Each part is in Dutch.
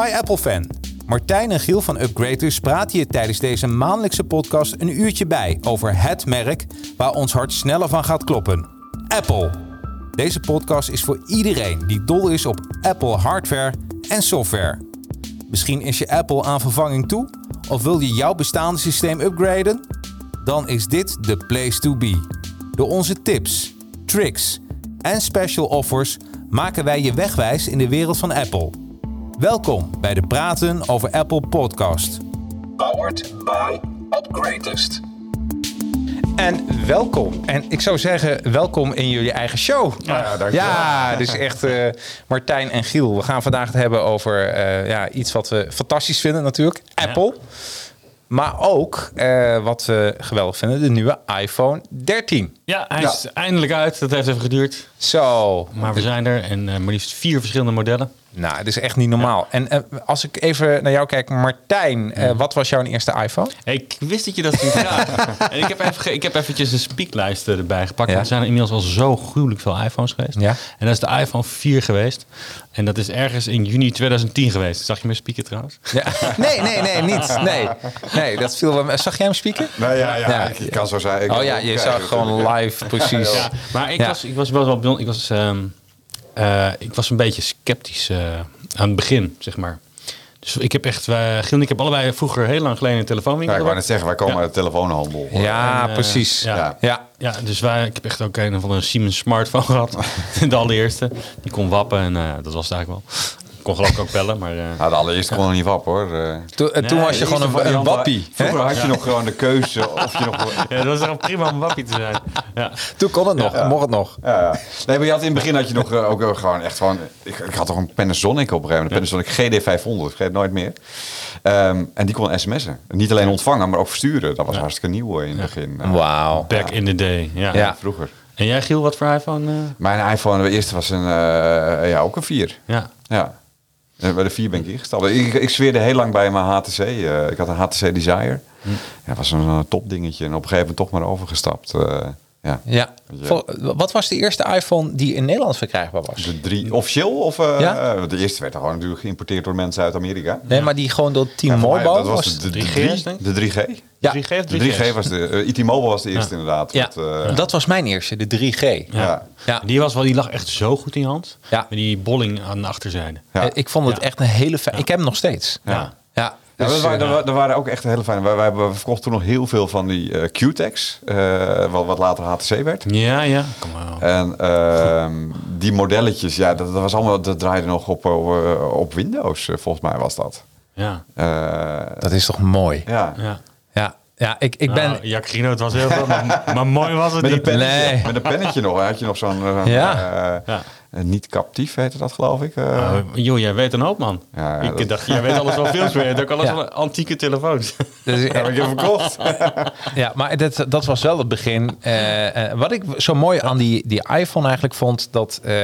Hi Apple-fan. Martijn en Giel van Upgraders praten je tijdens deze maandelijkse podcast een uurtje bij over het merk waar ons hart sneller van gaat kloppen. Apple. Deze podcast is voor iedereen die dol is op Apple hardware en software. Misschien is je Apple aan vervanging toe? Of wil je jouw bestaande systeem upgraden? Dan is dit de place to be. Door onze tips, tricks en special offers maken wij je wegwijs in de wereld van Apple. Welkom bij de Praten over Apple podcast. Powered by Upgradest. En welkom. En ik zou zeggen, welkom in jullie eigen show. Ja, ja dus echt eh, Martijn en Giel. We gaan vandaag het hebben over eh, ja, iets wat we fantastisch vinden natuurlijk. Apple. Maar ook eh, wat we geweldig vinden, de nieuwe iPhone 13. Ja, hij is eindelijk uit. Dat heeft even geduurd. Zo, Maar we zijn er en eh, maar liefst vier verschillende modellen. nou, het is echt niet normaal. En eh, als ik even naar jou kijk, Martijn, eh, wat was jouw eerste iPhone? Ik wist dat je dat ging vragen. en ik heb, even, ge- ik heb eventjes een speaklijst eh, erbij gepakt. Ja. Er zijn er inmiddels al zo gruwelijk veel iPhones geweest. Ja. En dat is de iPhone 4 geweest. En dat is ergens in juni 2010 geweest. Zag je mijn speaker trouwens? Ja. Nee, nee, nee, niet. Nee, nee dat viel wel. mee. Zag jij hem spieken? Nou ja, ja, Ja. ik, ik kan zo zijn. Ik Oh kan ja, ook je kijken, zag gewoon natuurlijk, live, precies. Ja, maar ik, Ja. was, ik was wel wel benieuwd. Ik was, ehm, eh, ik was een beetje sceptisch eh, aan het begin, zeg maar. Dus ik heb echt, eh Giel en ik hebben allebei vroeger heel lang geleden een hè. telefoonwinkel. Ja, ik wou gehad. net zeggen, wij komen Ja. uit de telefoonhandel. Ja, eh, precies. ja. Ja. Ja. Ja, dus wij, ik heb echt ook een van een Siemens smartphone gehad. De allereerste. Die kon wappen en eh, dat was het eigenlijk wel. Ik kon geloof ik ook bellen, maar... eh, Nou, de allereerste kon nog niet wap hoor. Eh, Toen, eh, toen Nee, was je die gewoon een, een wappie. hè? Vroeger had je nog gewoon de keuze of je nog... ja, dat was toch prima om wappie te zijn. Ja. Toen kon het nog, mocht het nog. Ja, ja. Nee, maar je had in het begin had je nog eh, ook eh, gewoon echt gewoon... Ik, ik had toch een Panasonic op een gegeven moment. Een Panasonic GD500, ik vergeet het nooit meer. Ehm, en die kon sms'en. Niet alleen ontvangen, maar ook versturen. Dat was hartstikke nieuw hoor, in het begin. Eh, Wauw. Back in the day, ja. Ja. Vroeger. En jij Giel, wat voor iPhone? eh? Mijn iPhone, de eerste was een, eh, ja, ook een 4. ja. Ja. Eh, Bij de vier ben ik ingestapt. Ik, ik zweerde heel lang bij mijn HTC. eh, ik had een HTC Desire. Hm. Ja, dat was een eh, topdingetje. En op een gegeven moment toch maar overgestapt. eh, ja. Ja. Ja. Vol- Wat was de eerste iPhone die in Nederland verkrijgbaar was? De drie, officieel? Of, eh, Ja. eh, de eerste werd gewoon natuurlijk geïmporteerd door mensen uit Amerika. Nee, maar die gewoon door Team En voor mij, Mobile dat was was- de, de, 3G, drie- denk ik. de 3G. Ja. 3G of De 3G 3G? was de... eh, IT-Mobile was de eerste inderdaad. Ja, Met, eh, dat was mijn eerste, de 3G. ja. Ja. Die, was wel, die lag echt zo goed in je hand. Ja. Met die bolling aan de achterzijde. Ja. Eh, Ik vond het Ja. echt een hele fijn. Ik heb hem nog steeds. Ja. Ja. Ja, Dus, dat waren, eh, er, wa- er waren ook echt hele fijne. Wij, wij hebben- we verkochten toen nog heel veel van die eh, Q-Tex, eh, wat, wat later HTC werd. Ja, ja. Kom maar. En ehm, die modelletjes, ja, dat, dat was allemaal, dat draaide nog op, eh, op Windows, eh, volgens mij was dat. Ja. Eh, dat is toch mooi? ja. ja. Ja, ja ik, ik ben... Nou, Jacquino, het was heel veel, maar, maar mooi was het Met een niet. pennetje, Nee. met een pennetje nog, had je nog zo'n, eh, zo'n, Ja. eh, Ja. eh, niet captief heette dat geloof ik. eh. Oh, joh, jij weet een hoop, man. Ja, ja, ik dat- dacht, jij weet alles van films, maar je hebt ook alles Ja. van antieke telefoons. dat is- heb ik hem verkocht. ja, maar dat, dat was wel het begin. Eh, eh, wat ik zo mooi aan die, die iPhone eigenlijk vond, dat eh,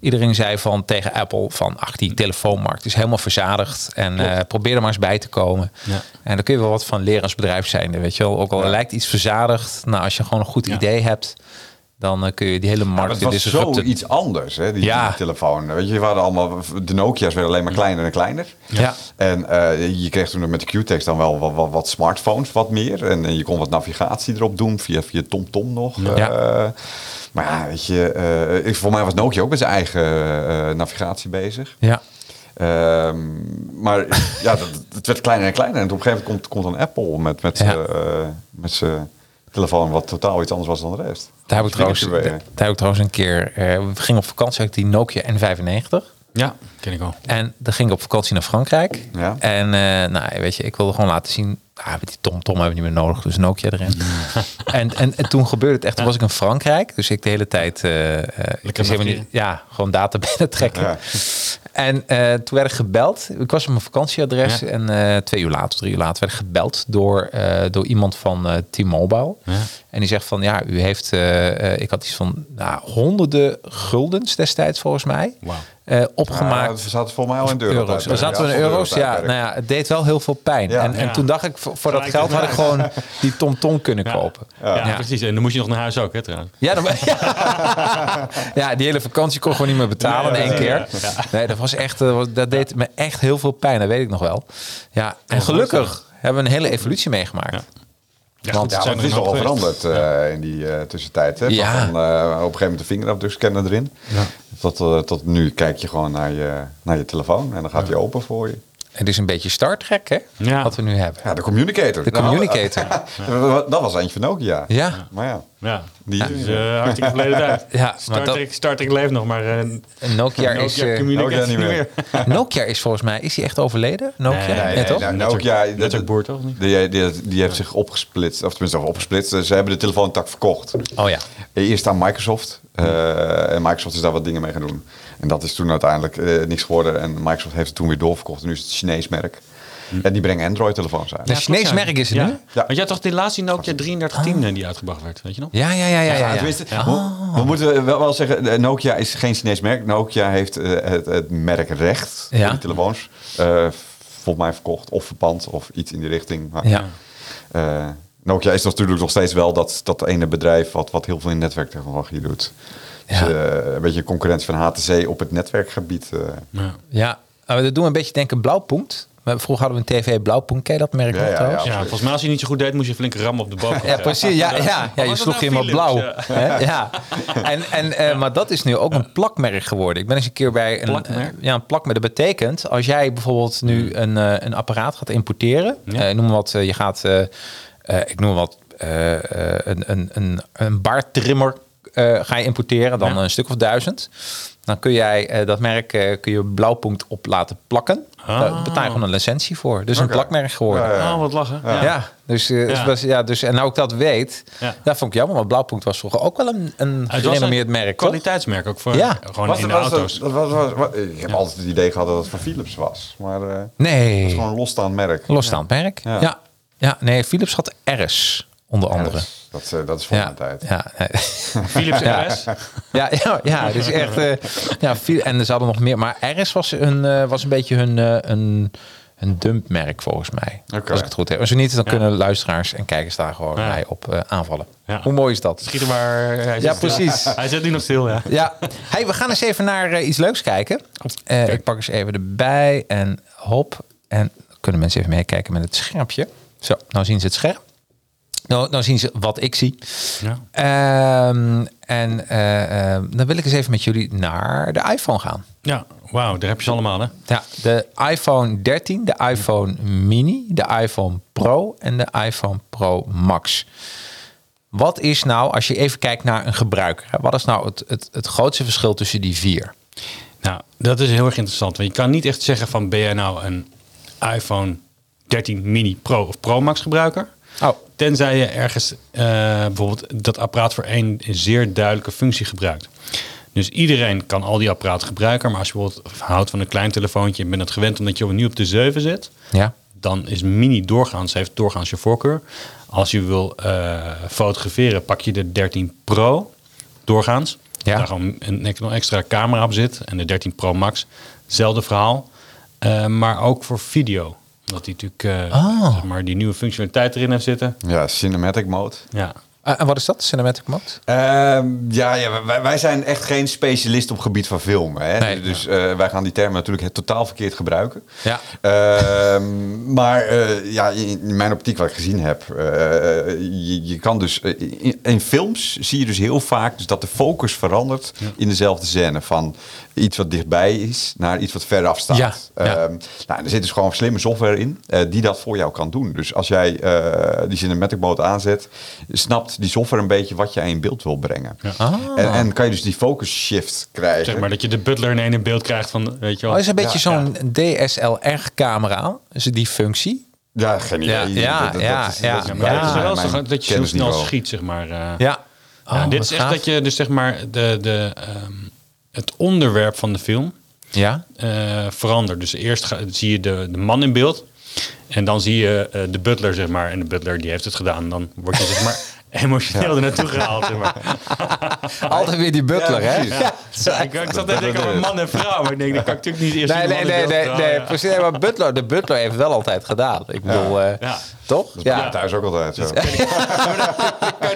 iedereen zei van tegen Apple van ach, die telefoonmarkt is helemaal verzadigd. En eh, probeer er maar eens bij te komen. Ja. En daar kun je wel wat van leren als bedrijf zijnde, weet je wel. Ook al lijkt iets verzadigd, nou als je gewoon een goed Ja. idee hebt, dan eh, kun je die hele Maar markt het was disrupten. zoiets anders, hè, die, Ja. die telefoon. Weet je, we hadden allemaal, de Nokia's werden alleen maar kleiner en kleiner. Ja. En eh, je kreeg toen met de Q-Tex dan wel wat, wat, wat smartphones, wat meer. En, en je kon wat navigatie erop doen, via, via TomTom nog. Ja. Eh, maar ja, weet je, eh, ik, voor mij was Nokia ook met zijn eigen eh, navigatie bezig. Ja. Ehm, maar ja, dat, het werd kleiner en kleiner. En op een gegeven moment komt, komt dan Apple met, met, Ja. eh, met zijn telefoon, wat totaal iets anders was dan de rest. Daar heb, ik trouwens, daar, Spinnertje daar heb ik trouwens een keer... eh, we gingen op vakantie uit die Nokia N95. Ja, ken ik al. En dan ging ik op vakantie naar Frankrijk. Ja. En eh, nou, weet je, ik wilde gewoon laten zien... Ah, die TomTom hebben we niet meer nodig, dus Nokia erin. en, en, en toen gebeurde het echt. Toen was ik in Frankrijk, dus ik de hele tijd... eh, eh, ik was helemaal niet, navigeren. ja, gewoon data binnen trekken. Ja. En eh, toen werd ik gebeld. Ik was op mijn vakantieadres. Ja. En eh, twee uur later, drie uur later, werd ik gebeld door, eh, door iemand van eh, T-Mobile. Ja. En die zegt van, ja, u heeft... eh, eh, ik had iets van nou, honderden guldens destijds, volgens mij. Wauw. eh, Maar opgemaakt we zaten volgens mij al in de euro. euro's. We zaten we in euro's. Ja, nou ja, nou het deed wel heel veel pijn. Ja. En, en Ja. toen dacht ik, v- voor, voor dat Gelijk geld had ik gewoon die TomTom kunnen Ja. kopen. Ja, Ja. precies. En dan moest je nog naar huis ook, hè, trouwens. Ja, dan- ja. ja, die hele vakantie kon ik gewoon niet meer betalen Nee, in één ja, keer. ja, ja. Nee, dat, was echt, eh, was- dat deed me echt heel veel pijn, dat weet ik nog wel. Ja, en gelukkig hebben we een hele evolutie meegemaakt. Ja, Want- goed, Ja, zijn Ja, want er het is een al hoop geweest. veranderd eh, in die eh, tussentijd. Hè? Van, Ja. eh, op een gegeven moment de vingerafdrukscanner erin. Tot, eh, tot nu kijk je gewoon naar je, naar je telefoon en dan gaat die open voor je. Het is een beetje Star Trek, hè? Ja. Wat we nu hebben. Ja, de communicator. De Nou, communicator. dat was eentje van Nokia. Ja. Maar ja, Ja, Die- die is eh, hartstikke verleden tijd. Ja, maar Star, dat- Trek, Star Trek leeft nog, maar eh, En Nokia, Nokia is, eh, communicatie Nokia niet niet meer. meer. Nokia is volgens mij, is die echt overleden? Nokia? Nee, Ja, nee, toch? nou, Network- Nokia, dat- network board, toch? Niet? die, die, die heeft zich opgesplitst. Of tenminste, opgesplitst. Ze hebben de telefoontak verkocht. Oh ja. Eerst aan Microsoft. eh, en Microsoft is daar wat dingen mee gaan doen. En dat is toen uiteindelijk eh, niks geworden. En Microsoft heeft het toen weer doorverkocht. En nu is het een Chinees merk. Hm. En die brengen Android-telefoons uit. Een Chinees merk is het ja. nu? Ah. Ja. Want je had toch die laatste Nokia 3310 die uitgebracht werd, weet je nog? Ja, ja, ja, ja. ja, Ja, ja. Ah. tenminste, we- We moeten wel, wel zeggen, eh, Nokia is geen Chinees merk. Nokia heeft eh, het, het merkrecht Ja. voor die telefoons. eh, volgens mij verkocht of verpand of iets in die richting. Maar, Ja. eh, Nokia is natuurlijk nog steeds wel dat, dat ene bedrijf wat, wat heel veel in netwerktechnologie doet. Dus, Ja. eh, een beetje concurrent van HTC op het netwerkgebied. eh. Ja. Ja, maar dat doen we een beetje denken blauwpunt. Maar Vroeger hadden we een tv blauwpunt, ken je dat merk Ja, nog ja, ja. trouwens? Ja, volgens mij als je niet zo goed deed, moest je flink rammen op de boom. Ja, precies. Ja, ja, ja, was je dat sloeg je nou helemaal blauw. Philips? hè? Ja. En, en, eh, Maar dat is nu ook een plakmerk geworden. Ik ben eens een keer bij een Plakmerk? Hmm. eh, ja, een plakmerk. Dat betekent, als jij bijvoorbeeld nu een, eh, een apparaat gaat importeren. Ja. eh, noem maar wat, eh, je gaat, eh, eh, ik noem maar wat, eh, eh, een, een, een, een baardtrimmer eh, ga je importeren. Dan Ja. een stuk of duizend. Dan kun jij eh, dat merk eh, kun je blauwpunt op laten plakken. Daar Ah. betaal je gewoon een licentie voor. Dus Oké. een plakmerk geworden. Ja, ja. Oh, wat lachen. Ja, dus, eh, Ja. Was, ja, dus en nou ik dat weet, Ja. dat vond ik jammer. Want Blauwpunkt was vroeger ook wel een, een Het was gerenommeerd een merk, toch? kwaliteitsmerk ook voor Ja. gewoon Was in het- de was het- auto's. was- was- was- Ik heb altijd het idee gehad dat het van Philips was. Maar eh, het is Nee, gewoon een losstaand merk. losstaand merk. Ja. Ja. Ja. nee, Philips had RS, onder Ja, andere. dat, is- dat, is, eh, dat is voor Ja, mijn tijd. ja, nee. Philips Ja. RS. ja, ja, ja, dus echt. eh, ja, Phil- en ze hadden nog meer. Maar RS was een, eh, was een beetje hun eh, een, een dumpmerk, volgens mij. Oké. Als ik het goed heb. En zo niet, dan kunnen luisteraars en kijkers daar gewoon Ja. mij op eh, aanvallen. Ja. Hoe mooi is dat? Schiet er maar. eh, Hij zit Ja, stil. precies. Hij zit nu nog stil, ja. Ja, hey, we gaan eens even naar eh, iets leuks kijken. Eh, Ik pak eens even erbij en hop. En dan kunnen mensen even meekijken met het schermpje. Zo, nou zien ze het scherm. Nou, nou zien ze wat ik zie. Ja. Ehm, en eh, ehm, dan wil ik eens even met jullie naar de iPhone gaan. Ja, wauw, daar heb je ze allemaal, hè? Ja, de iPhone 13, de iPhone Mini, de iPhone Pro en de iPhone Pro Max. Wat is nou, als je even kijkt naar een gebruiker, hè, wat is nou het, het, het grootste verschil tussen die vier? Nou, dat is heel erg interessant. Want je kan niet echt zeggen van ben jij nou een iPhone 13 mini Pro of Pro Max gebruiker. Oh. Tenzij je ergens eh, bijvoorbeeld dat apparaat voor één zeer duidelijke functie gebruikt. Dus iedereen kan al die apparaten gebruiken. Maar als je bijvoorbeeld houdt van een klein telefoontje en bent het gewend omdat je nu op de 7 zit. Ja. dan is mini doorgaans, heeft doorgaans je voorkeur. Als je wil eh, fotograferen, pak je de 13 Pro doorgaans. Ja. Daar gewoon een, een extra camera op zit. En de 13 Pro Max, zelfde verhaal. Eh, maar ook voor video. Omdat die natuurlijk eh, Oh. zeg maar, die nieuwe functionaliteit erin heeft zitten. Ja, cinematic mode. Ja. Eh, en wat is dat, cinematic mode? Oh, Ehm, ja, ja wij, wij zijn echt geen specialist op het gebied van filmen. Hè? Nee. dus eh, wij gaan die termen natuurlijk het totaal verkeerd gebruiken. Ja. Ehm, maar eh, ja, in, in mijn optiek wat ik gezien heb, eh, je, je kan dus eh, in, in films zie je dus heel vaak dus dat de focus verandert in dezelfde scène van iets wat dichtbij is naar iets wat veraf staat. Ja, ja. Ehm, nou, en er zit dus gewoon slimme software in eh, die dat voor jou kan doen. Dus als jij eh, die cinematic mode aanzet, snapt die software een beetje wat jij in beeld wil brengen. Ah. En, en kan je dus die focus shift krijgen. Zeg maar dat je de butler in één in beeld krijgt van, weet je wel. Oh, is een beetje Ja, ja. zo'n DSLR-camera, dus die functie. Ja, geen idee. Ja, ja, Dat- dat- ja, dat is- ja. dat is Ja, een maar Ja. het is beetje wel mijn zo dat je zo snel kennisniveau. schiet, zeg maar. eh. Ja. Ja, Oh, dit wat is echt gaaf. dat je dus zeg maar de, de, ehm, het onderwerp van de film Ja. eh, verandert. Dus eerst ga- zie je de, de man in beeld en dan zie je eh, de butler zeg maar. En de butler die heeft het gedaan. Dan word je zeg maar emotioneel er naartoe gehaald. zeg maar. Altijd weer die butler, hè? precies. Ja, zo, ik, ik zat net te denken over man en vrouw. Maar ik denk, dat kan ik natuurlijk niet eerst Nee, die nee, man nee, en nee, vrouw, nee, ja. precies. Maar Butler, de Butler heeft wel altijd gedaan. Ik bedoel, eh, Ja. toch? Dat is Ja. ja. thuis ook altijd zo. Nou,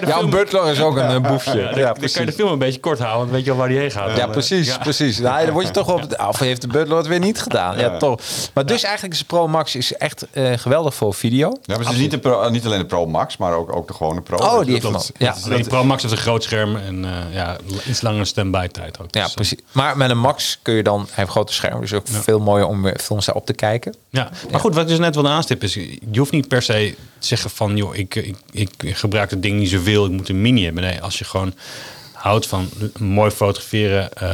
Jouw Butler is ook een eh, boefje. Ja, Ja, dan, dan kan je de precies. film een beetje kort houden, want dan weet je al waar die heen gaat. Ja, Dan, eh, precies, ja. precies. Nou, dan word je toch op. Of heeft de Butler het weer niet gedaan? Ja, toch. Maar dus eigenlijk is de Pro Max is echt eh, geweldig voor video. Ja, maar het is niet, de pro, eh, niet alleen de Pro Max, maar ook, ook de gewone Pro. Dus Oh, die heeft Dat- hem dat- al. Ja. Alleen Pro Max heeft een groot scherm en eh, ja, iets langere standby tijd ook. Ja, Dus, eh, precies. Maar met een Max kun je dan, hij heeft grote schermen, dus ook veel mooier om weer films daarop te kijken. Ja, maar goed, wat ik dus net wilde aanstippen is... je hoeft niet per se te zeggen van... joh, ik, ik, ik gebruik dat ding niet zoveel, ik moet een mini hebben. Nee, als je gewoon houdt van mooi fotograferen, eh,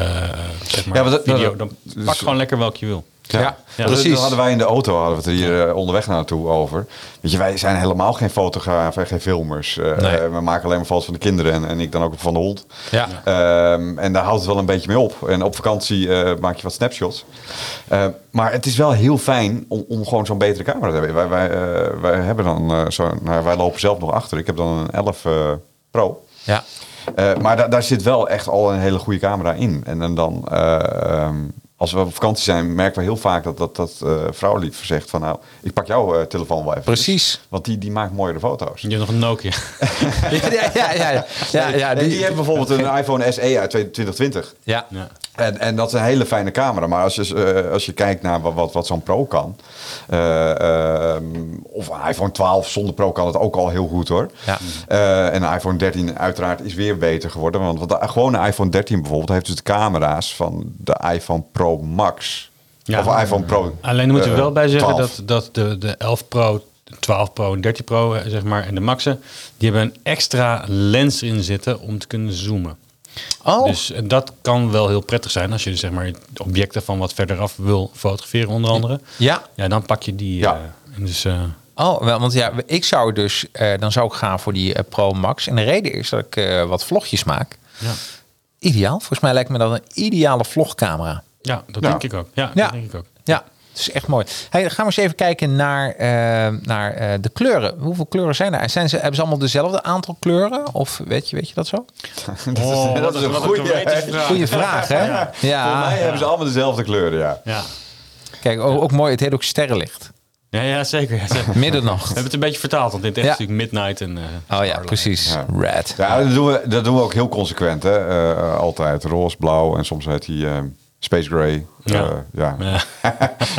zeg maar, Ja, maar dat- video... dat- dan dus- pak gewoon lekker welke je wil. Ja, Ja, dat, precies. dat hadden wij in de auto, hadden we het hier eh, onderweg naartoe over. Weet je, wij zijn helemaal geen fotografen en geen filmers. Eh, Nee. eh, we maken alleen maar foto's van de kinderen en, en ik dan ook van de hond. Ja. Ehm, en daar houdt het wel een beetje mee op. En op vakantie eh, maak je wat snapshots. Eh, maar het is wel heel fijn om, om gewoon zo'n betere camera te hebben. Wij, wij, eh, wij hebben dan eh, zo'n, nou, wij lopen zelf nog achter. Ik heb dan een 11 eh, Pro. Ja. Eh, maar da- daar zit wel echt al een hele goede camera in. En, dan- dan, eh, ehm, als we op vakantie zijn, merken we heel vaak dat dat, dat eh vrouwlief zegt van nou, ik pak jouw eh, telefoon wel even. Precies. Want die, die maakt mooiere foto's. Je hebt nog een Nokia. Ja, ja, ja. ja, ja, ja, die, die die, heeft bijvoorbeeld een iPhone SE uit 2020. ja. Ja. En, en dat is een hele fijne camera. Maar als je, eh, als je kijkt naar wat, wat, wat zo'n Pro kan. eh, ehm, of een iPhone 12 zonder Pro kan het ook al heel goed hoor. Ja. Eh, en een iPhone 13 uiteraard is weer beter geworden. Want, want de gewone iPhone 13 bijvoorbeeld heeft dus de camera's van de iPhone Pro Max. Ja. Of iPhone Pro Alleen dan moet je er eh, wel bij zeggen 12. dat, dat de, de 11 Pro, de 12 Pro en 13 Pro, eh, zeg maar, en de Maxen... die hebben een extra lens in zitten om te kunnen zoomen. Oh, Dus eh, dat kan wel heel prettig zijn als je zeg maar objecten van wat verder af wil fotograferen onder andere. Ja. Ja, dan pak je die. Ja. eh, en dus, eh, oh wel, want ja, ik zou dus, eh, dan zou ik gaan voor die eh, Pro Max. En de reden is dat ik eh, wat vlogjes maak. ja. Ideaal. Volgens mij lijkt me dat een ideale vlogcamera. ja, dat Ja. denk ik ook. Ja, Ja. dat denk ik ook. Ja, het is echt mooi. Hey, gaan we eens even kijken naar, eh, naar eh, de kleuren. Hoeveel kleuren zijn er? Zijn ze, hebben ze allemaal dezelfde aantal kleuren? Of weet je, weet je dat zo? Oh, dat is een wat goeie, hè? gewetensvraag. Goeie vraag, hè? Ja. eh, Voor mij hebben ze allemaal dezelfde kleuren, ja. Ja. Kijk, ook, ook mooi. Het heet ook sterrenlicht. Ja, ja, zeker. ja, zeker. We Middernacht. hebben het een beetje vertaald, want dit is Ja. natuurlijk Midnight en... eh, Oh ja, Starlight. precies. Ja. Red. Ja, dat doen we, dat doen we ook heel consequent. Hè? Eh, altijd roze, blauw en soms heet die eh, Space Gray. Ja. Ja. ja. Ja.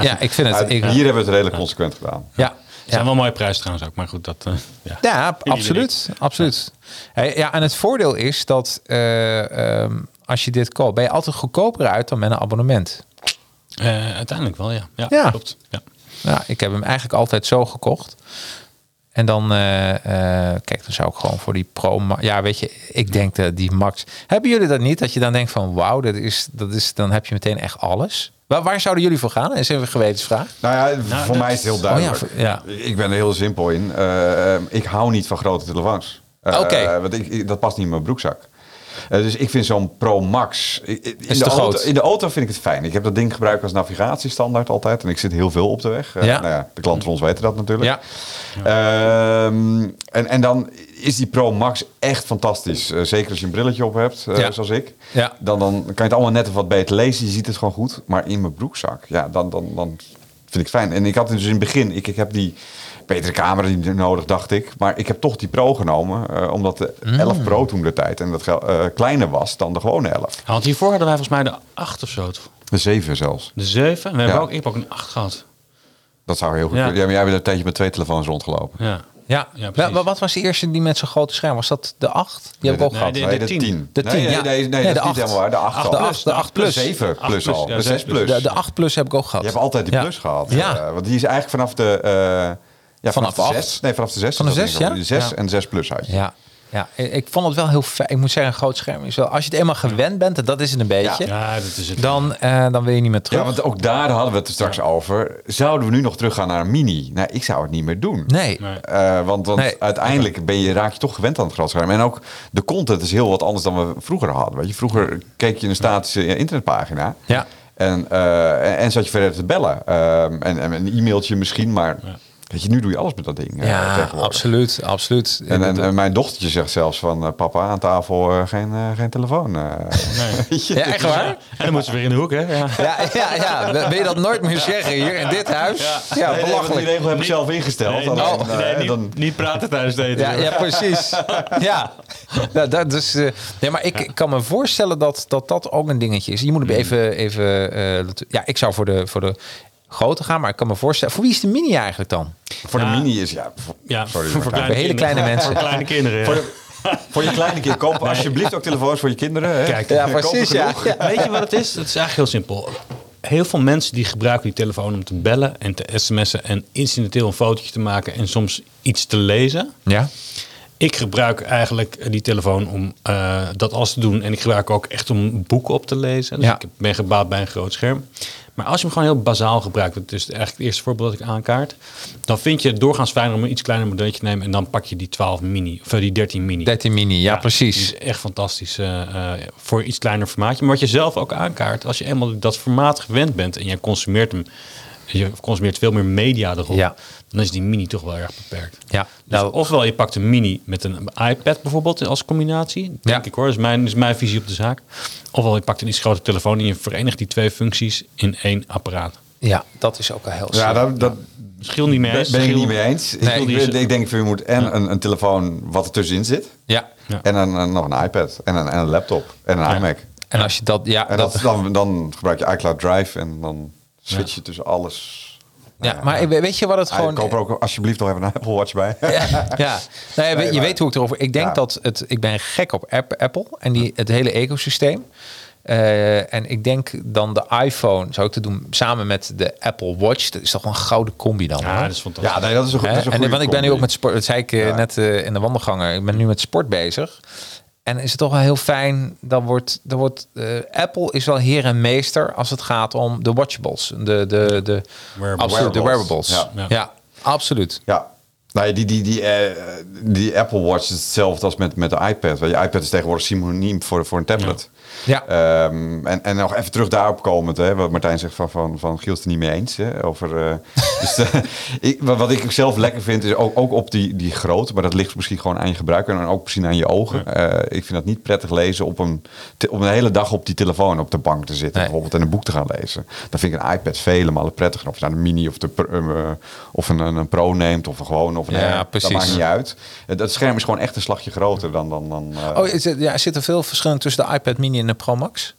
Ja, ik vind het. Maar Ik, hier hebben we het redelijk consequent gedaan. ja, Zijn ja. wel mooie prijzen trouwens ook, maar goed, dat... eh, ja. Ja, absoluut. absoluut. Hey, ja, en het voordeel is dat eh, ehm, als je dit koopt, ben je altijd goedkoper uit dan met een abonnement. Eh, uiteindelijk wel, ja. Ja, Ja. klopt. Ja. Ja, Nou, ik heb hem eigenlijk altijd zo gekocht. En dan, eh, eh, kijk, dan zou ik gewoon voor die Pro Ma- Ja, weet je, ik denk dat die Max. Hebben jullie dat niet? Dat je dan denkt van, wauw, dat is, dat is, dan heb je meteen echt alles. Waar, waar zouden jullie voor gaan? Is even een gewetensvraag. Nou ja, voor dat mij is het heel duidelijk. Oh ja, voor- Ik ben er heel simpel in. Eh, ik hou niet van grote telefoons. Eh, Oké. Want ik, ik- dat past niet in mijn broekzak. Eh, dus ik vind zo'n Pro Max... i- i- In Is de te auto, groot. in de auto vind ik het fijn. Ik heb dat ding gebruikt als navigatiestandaard altijd. En ik zit heel veel op de weg. Eh, Ja. Nou ja, de klanten van ons weten dat natuurlijk. Ja. Ehm, en, en dan is die Pro Max echt fantastisch. Eh, zeker als je een brilletje op hebt, eh, Ja. zoals ik. Ja. Dan, dan kan je het allemaal net even wat beter lezen. Je ziet het gewoon goed. Maar in mijn broekzak, ja, dan, dan, dan vind ik het fijn. En ik had dus in het begin, ik, ik heb die betere camera die nodig, dacht ik. Maar ik heb toch die Pro genomen. eh, omdat de Mm. 11 Pro toen de tijd en dat gel- eh, kleiner was dan de gewone 11. Want hiervoor hadden wij volgens mij de 8 of zo, toch? De 7 zelfs. De 7. En we hebben Ja. ook, ik heb ook een 8 gehad. Dat zou heel goed Ja. kunnen. Ja, maar jij bent een tijdje met twee telefoons rondgelopen. Ja. Ja, Ja, Wel, precies. wat, was de eerste die met zo'n grote scherm? Was dat de 8? Die heb ik ook nee, gehad. de- Nee, de de tien. 10. De tien, nee, ja. nee, nee, Nee, nee, de dat is acht. niet helemaal waar. De 8 Acht, de acht, de acht plus. 7 Acht plus plus, al. ja, De zes 6 plus. plus. De, de 8 plus heb ik ook gehad. Je hebt altijd die Ja. plus gehad. Ja. Eh, want die is eigenlijk vanaf de... eh, ja, Vanaf vanaf, acht. de 6. Nee, vanaf de 6. Van de zes, ja? De 6 Ja. en 6 plus uit. Ja, ja. Ik, ik vond het wel heel fijn. Ik moet zeggen, een groot scherm is wel. Als je het eenmaal gewend bent, en dat is het een beetje, Ja, dat is het. dan, eh, dan wil je niet meer terug. Ja, want ook daar hadden we het er straks over. Zouden we nu nog teruggaan naar een mini? Nou, ik zou het niet meer doen. nee. Nee. Eh, want want Nee. uiteindelijk ben je, raak je toch gewend aan het grootscherm. En ook de content is heel wat anders dan we vroeger hadden. Weet je? Vroeger keek je een statische eh, internetpagina. Ja. En, eh, en, en zat je verder te bellen. Ehm, en, en een e-mailtje misschien, maar Weet je, nu doe je alles met dat ding. eh, Ja, tegenwoordig. absoluut, absoluut. En, en, Ik bedoel- en mijn dochtertje zegt zelfs van eh, papa aan tafel eh, geen, eh, geen telefoon. eh. Weet je? ja, echt waar? En dan moeten ze weer in de hoek, hè? Ja. Ja, ja, ja. Wil je dat nooit meer zeggen hier in dit huis? Ja, Nee, nee, want Die belachelijk. regel heb ik zelf ingesteld. Nee, Alleen, nee, eh, nee, niet, dan- niet praten tijdens het eten. Ja, ja, precies. Ja, ja dat, dus, eh, nee, maar ik ik kan me voorstellen dat dat, dat ook een dingetje is. Je moet hem even... even eh, natu- ja, ik zou voor de, voor de grote gaan, maar ik kan me voorstellen... Voor wie is de mini eigenlijk dan? voor de Ja. mini is ja. Voor, Ja, sorry, voor, maar- kleine Hele kinderen. kleine mensen. Voor kleine kinderen, ja. voor, de- voor je kleine kind koop alsjeblieft ook telefoons voor je kinderen. Hè. Kijk, Ja, Koop er precies, ja. genoeg. ja. Weet je wat het is? Het is eigenlijk heel simpel. Heel veel mensen die gebruiken die telefoon om te bellen en te sms'en en incidenteel een fotootje te maken en soms iets te lezen. Ja? Ik gebruik eigenlijk eh, die telefoon om eh, dat alles te doen. En ik gebruik ook echt om boeken op te lezen. Dus Ja. ik ben gebaat bij een groot scherm. Maar als je hem gewoon heel bazaal gebruikt, dat is dus eigenlijk het eerste voorbeeld dat ik aankaart. Dan vind je het doorgaans fijner om een iets kleiner modelletje te nemen. En dan pak je die 12 mini, of eh, die 13 mini. 13 mini, ja, precies. Nou, Die is echt fantastisch eh, eh, voor een iets kleiner formaatje. Maar wat je zelf ook aankaart, als je eenmaal dat formaat gewend bent en je consumeert hem, je consumeert veel meer media erop, Ja. dan is die mini toch wel erg beperkt. Ja, Dus nou- ofwel je pakt een mini met een iPad bijvoorbeeld als combinatie, denk Ja. ik hoor, is mijn, is mijn visie op de zaak. Ofwel je pakt een iets grotere telefoon en je verenigt die twee functies in één apparaat. Ja, dat is ook al heel Ja, slim. dat, dat Schil niet meer ben eens. ben ik schil- niet mee eens. Nee. ik, ik, ik denk, je moet en een, een telefoon wat er tussenin zit. Ja. Ja. En een, een- nog een iPad. En een, en een laptop. En een iMac. En als je dat... Ja, En dat, dat, dan, dan gebruik je iCloud Drive en dan switch je tussen alles. ja, maar ik- weet je wat het Ah, gewoon... koop er ook alsjeblieft nog even een Apple Watch bij. ja, nou, ja, je maar- weet hoe ik erover. Ik denk Ja. dat het. Ik ben gek op App- Apple en die, het hele ecosysteem. Eh, en ik denk dan de iPhone zou ik te doen samen met de Apple Watch. Dat is toch wel een gouden combi dan. Ja, hoor. dat is fantastisch. Ja, nee, dat is een, goed- dat Hè? is een en, goede want ik ben nu ook combi. met sport. Dat zei ik eh, net eh, in de wandelganger. Ik ben nu met sport bezig. En is het toch wel heel fijn. Dan wordt, dan wordt eh, Apple is wel heer en meester als het gaat om de watchables. De, de, de, Absoluut, de Wearables. wearables. Ja, Ja. absoluut. Ja. Nou, die, die, die, eh, die Apple Watch is hetzelfde als met, met de iPad. Want je iPad is tegenwoordig synoniem voor, voor een tablet. Ja. Ehm, en, en nog even terug daarop komend, hè, wat Martijn zegt van, van, van Giel is het er niet mee eens. Hè, over, eh, dus, eh, ik, wat wat ik zelf lekker vind, is ook, ook op die, die grootte, maar dat ligt misschien gewoon aan je gebruiker en ook misschien aan je ogen. Eh, ik vind dat niet prettig lezen op een, te- op een hele dag op die telefoon op de bank te zitten, Nee. bijvoorbeeld, en een boek te gaan lezen. Dan vind ik een iPad vele malen prettiger. Of je nou een mini of, de, pro- eh, of een, een, een pro neemt, of een gewoon, of een, Ja, eh, precies. dat maakt niet uit. Eh, Dat scherm is gewoon echt een slagje groter dan... dan, dan eh, Oh, is het- ja, zit er veel verschil tussen de iPad Mini en de Pro Max?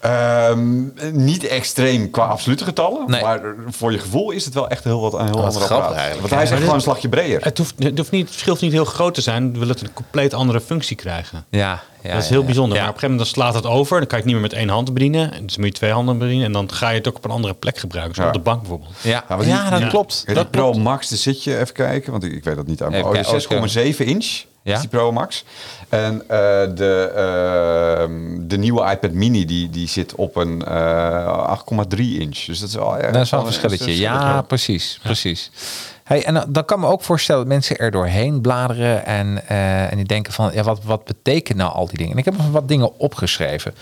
Ehm, niet extreem qua absolute getallen, Nee. maar voor je gevoel is het wel echt heel wat een heel ander grappig apparaat. eigenlijk, Want hij is echt Maar gewoon een slagje breder. Het, hoeft, het, hoeft niet, het verschil hoeft niet heel groot te zijn. We willen het een compleet andere functie krijgen. Ja, dat is heel bijzonder. Ja. Maar op een gegeven moment dan slaat het over. Dan kan je het niet meer met één hand bedienen. En Dus moet je twee handen bedienen. En dan ga je het ook op een andere plek gebruiken. Zoals Ja. op de bank bijvoorbeeld. ja. Ja, Nou, want Ja, die- dat die- klopt. Ja, die dat Pro klopt. Max, daar zit je even kijken, want ik, ik weet dat niet aan. Even Oh, de kijken, oh, 6,7 inch Ja. is die Pro Max. En eh, de, ehm, de nieuwe iPad Mini die, die zit op een eh, 8,3 inch. Dus dat is al Dat is wel een verschilletje. Ja, precies. precies. Hey, en eh, dan- dan kan me ook voorstellen dat mensen er doorheen bladeren en, eh, en die denken van, ja, wat, wat betekent nou al die dingen? En ik heb nog wat dingen opgeschreven.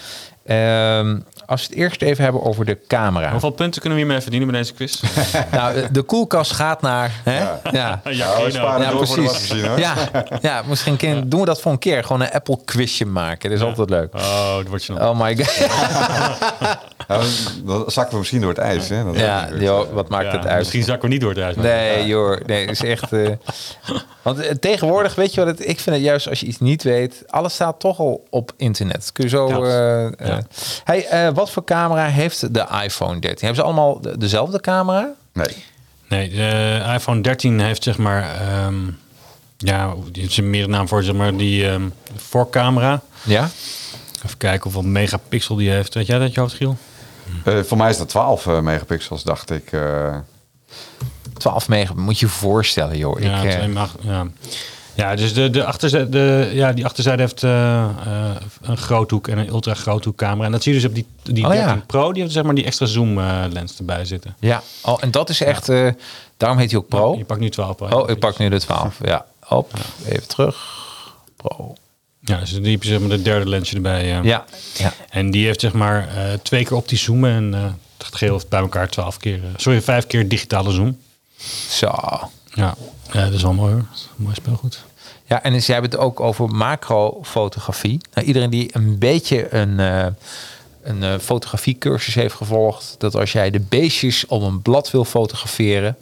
Ehm, als we het eerst even hebben over de camera. Hoeveel punten kunnen we hiermee verdienen bij deze quiz? Nou, de- de koelkast gaat naar... Hè? ja. ja, we sparen Ja, door voor de precies. wasmachine, hoor. Ja, ja, misschien een keer- doen we dat voor een keer. Gewoon een Apple quizje maken. Dat is altijd leuk. Oh, dat wordt je nog. Oh my god. Ja, dan- dan zakken we misschien door het ijs. Hè? Dat Ja, joh, wat maakt het uit? Misschien zakken we niet door het huis. maar- Nee, joh. Nee, is echt... eh, want eh, tegenwoordig, weet je wat het... Ik vind het juist als je iets niet weet... Alles staat toch al op internet. Kun je zo... Ja. eh, eh, Ja. hey, eh, wat voor camera heeft de iPhone 13? Hebben ze allemaal de- dezelfde camera? Nee. Nee, de eh, iPhone 13 heeft zeg maar... ehm, ja, die heeft een meer naam voor, zeg maar, die ehm, voorcamera. Ja. Even kijken hoeveel megapixel die heeft. Weet jij dat, je hoofd, Giel? Eh, voor mij is dat 12 eh, megapixels, dacht ik. eh. 12 mega. Moet je je voorstellen, joh. Ja, ik, eh, twee mag- ja. ja dus de, de achterzijde, de, ja, die achterzijde heeft eh, eh, een groothoek en een ultra groothoek camera. En dat zie je dus op die, die Oh, 13 ja. Pro, die heeft zeg maar die extra zoom eh, lens erbij zitten. ja. Oh, en dat is echt... eh, daarom heet hij ook Pro. Je pakt nu 12 Pro. Oh, ik pak nu de 12. Ja. Op. Even terug. Pro. Ja, dus die heb je zeg maar de derde lensje erbij. eh. Ja. Ja. En die heeft zeg maar eh, twee keer optisch zoomen en eh het geheel heeft bij elkaar 12 keer, eh, sorry, vijf keer digitale zoom. Zo. Ja, ja dat is wel mooi hoor. Dat is een Mooi speelgoed. Ja, en dus jij hebt het ook over macrofotografie. Nou, iedereen die een beetje een, eh een eh, fotografiecursus heeft gevolgd, dat als jij de beestjes op een blad wil fotograferen,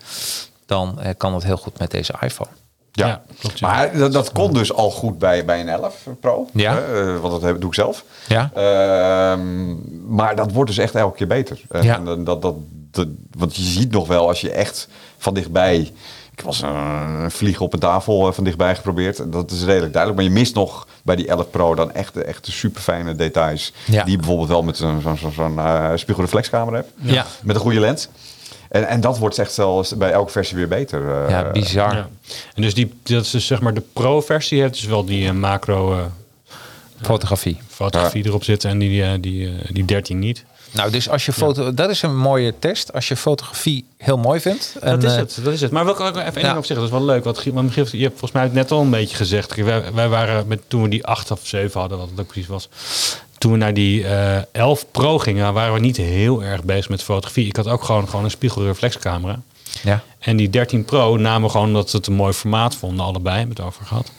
dan eh, kan dat heel goed met deze iPhone. Ja, Ja, klopt, ja. Maar dat, dat kon dus al goed bij, bij een 11 Pro. Ja. Eh, eh, want dat heb- doe ik zelf. Ja. Ehm, maar dat wordt dus echt elke keer beter. Eh, Ja. en dan- dat, dat, dat- want je ziet nog wel als je echt van dichtbij... Ik was een, een vlieg op een tafel eh, van dichtbij geprobeerd. En Dat is redelijk duidelijk. Maar je mist nog bij die 11 Pro dan echt, de- echt de super fijne details. Ja. Die je bijvoorbeeld wel met zo'n zo'n- zo'n- zo'n, eh, spiegelreflexcamera hebt. Ja. Met een goede lens. En, en dat wordt echt wel bij elke versie weer beter. eh. Ja, bizar. Ja. En dus die, dat is dus zeg maar de pro-versie heeft dus wel die eh, macro eh, Fotografie. fotografie erop zitten en die, eh, die, eh, die 13 niet. Nou, dus als je foto, dat is een mooie test. Als je fotografie heel mooi vindt. En, dat is eh, het, dat is het. Maar wil ik ook nog even één Ja. ding op zeggen, dat is wel leuk. Want Giel- want Giel, je hebt volgens mij het net al een beetje gezegd. Kijk, Wij, wij waren met, toen we die 8 of 7 hadden, wat het ook precies was. Toen we naar die eh 11 Pro gingen, waren we niet heel erg bezig met fotografie. Ik had ook gewoon, gewoon een spiegelreflexcamera. Ja. En die 13 Pro namen we gewoon omdat we het een mooi formaat vonden, allebei hebben we het over gehad.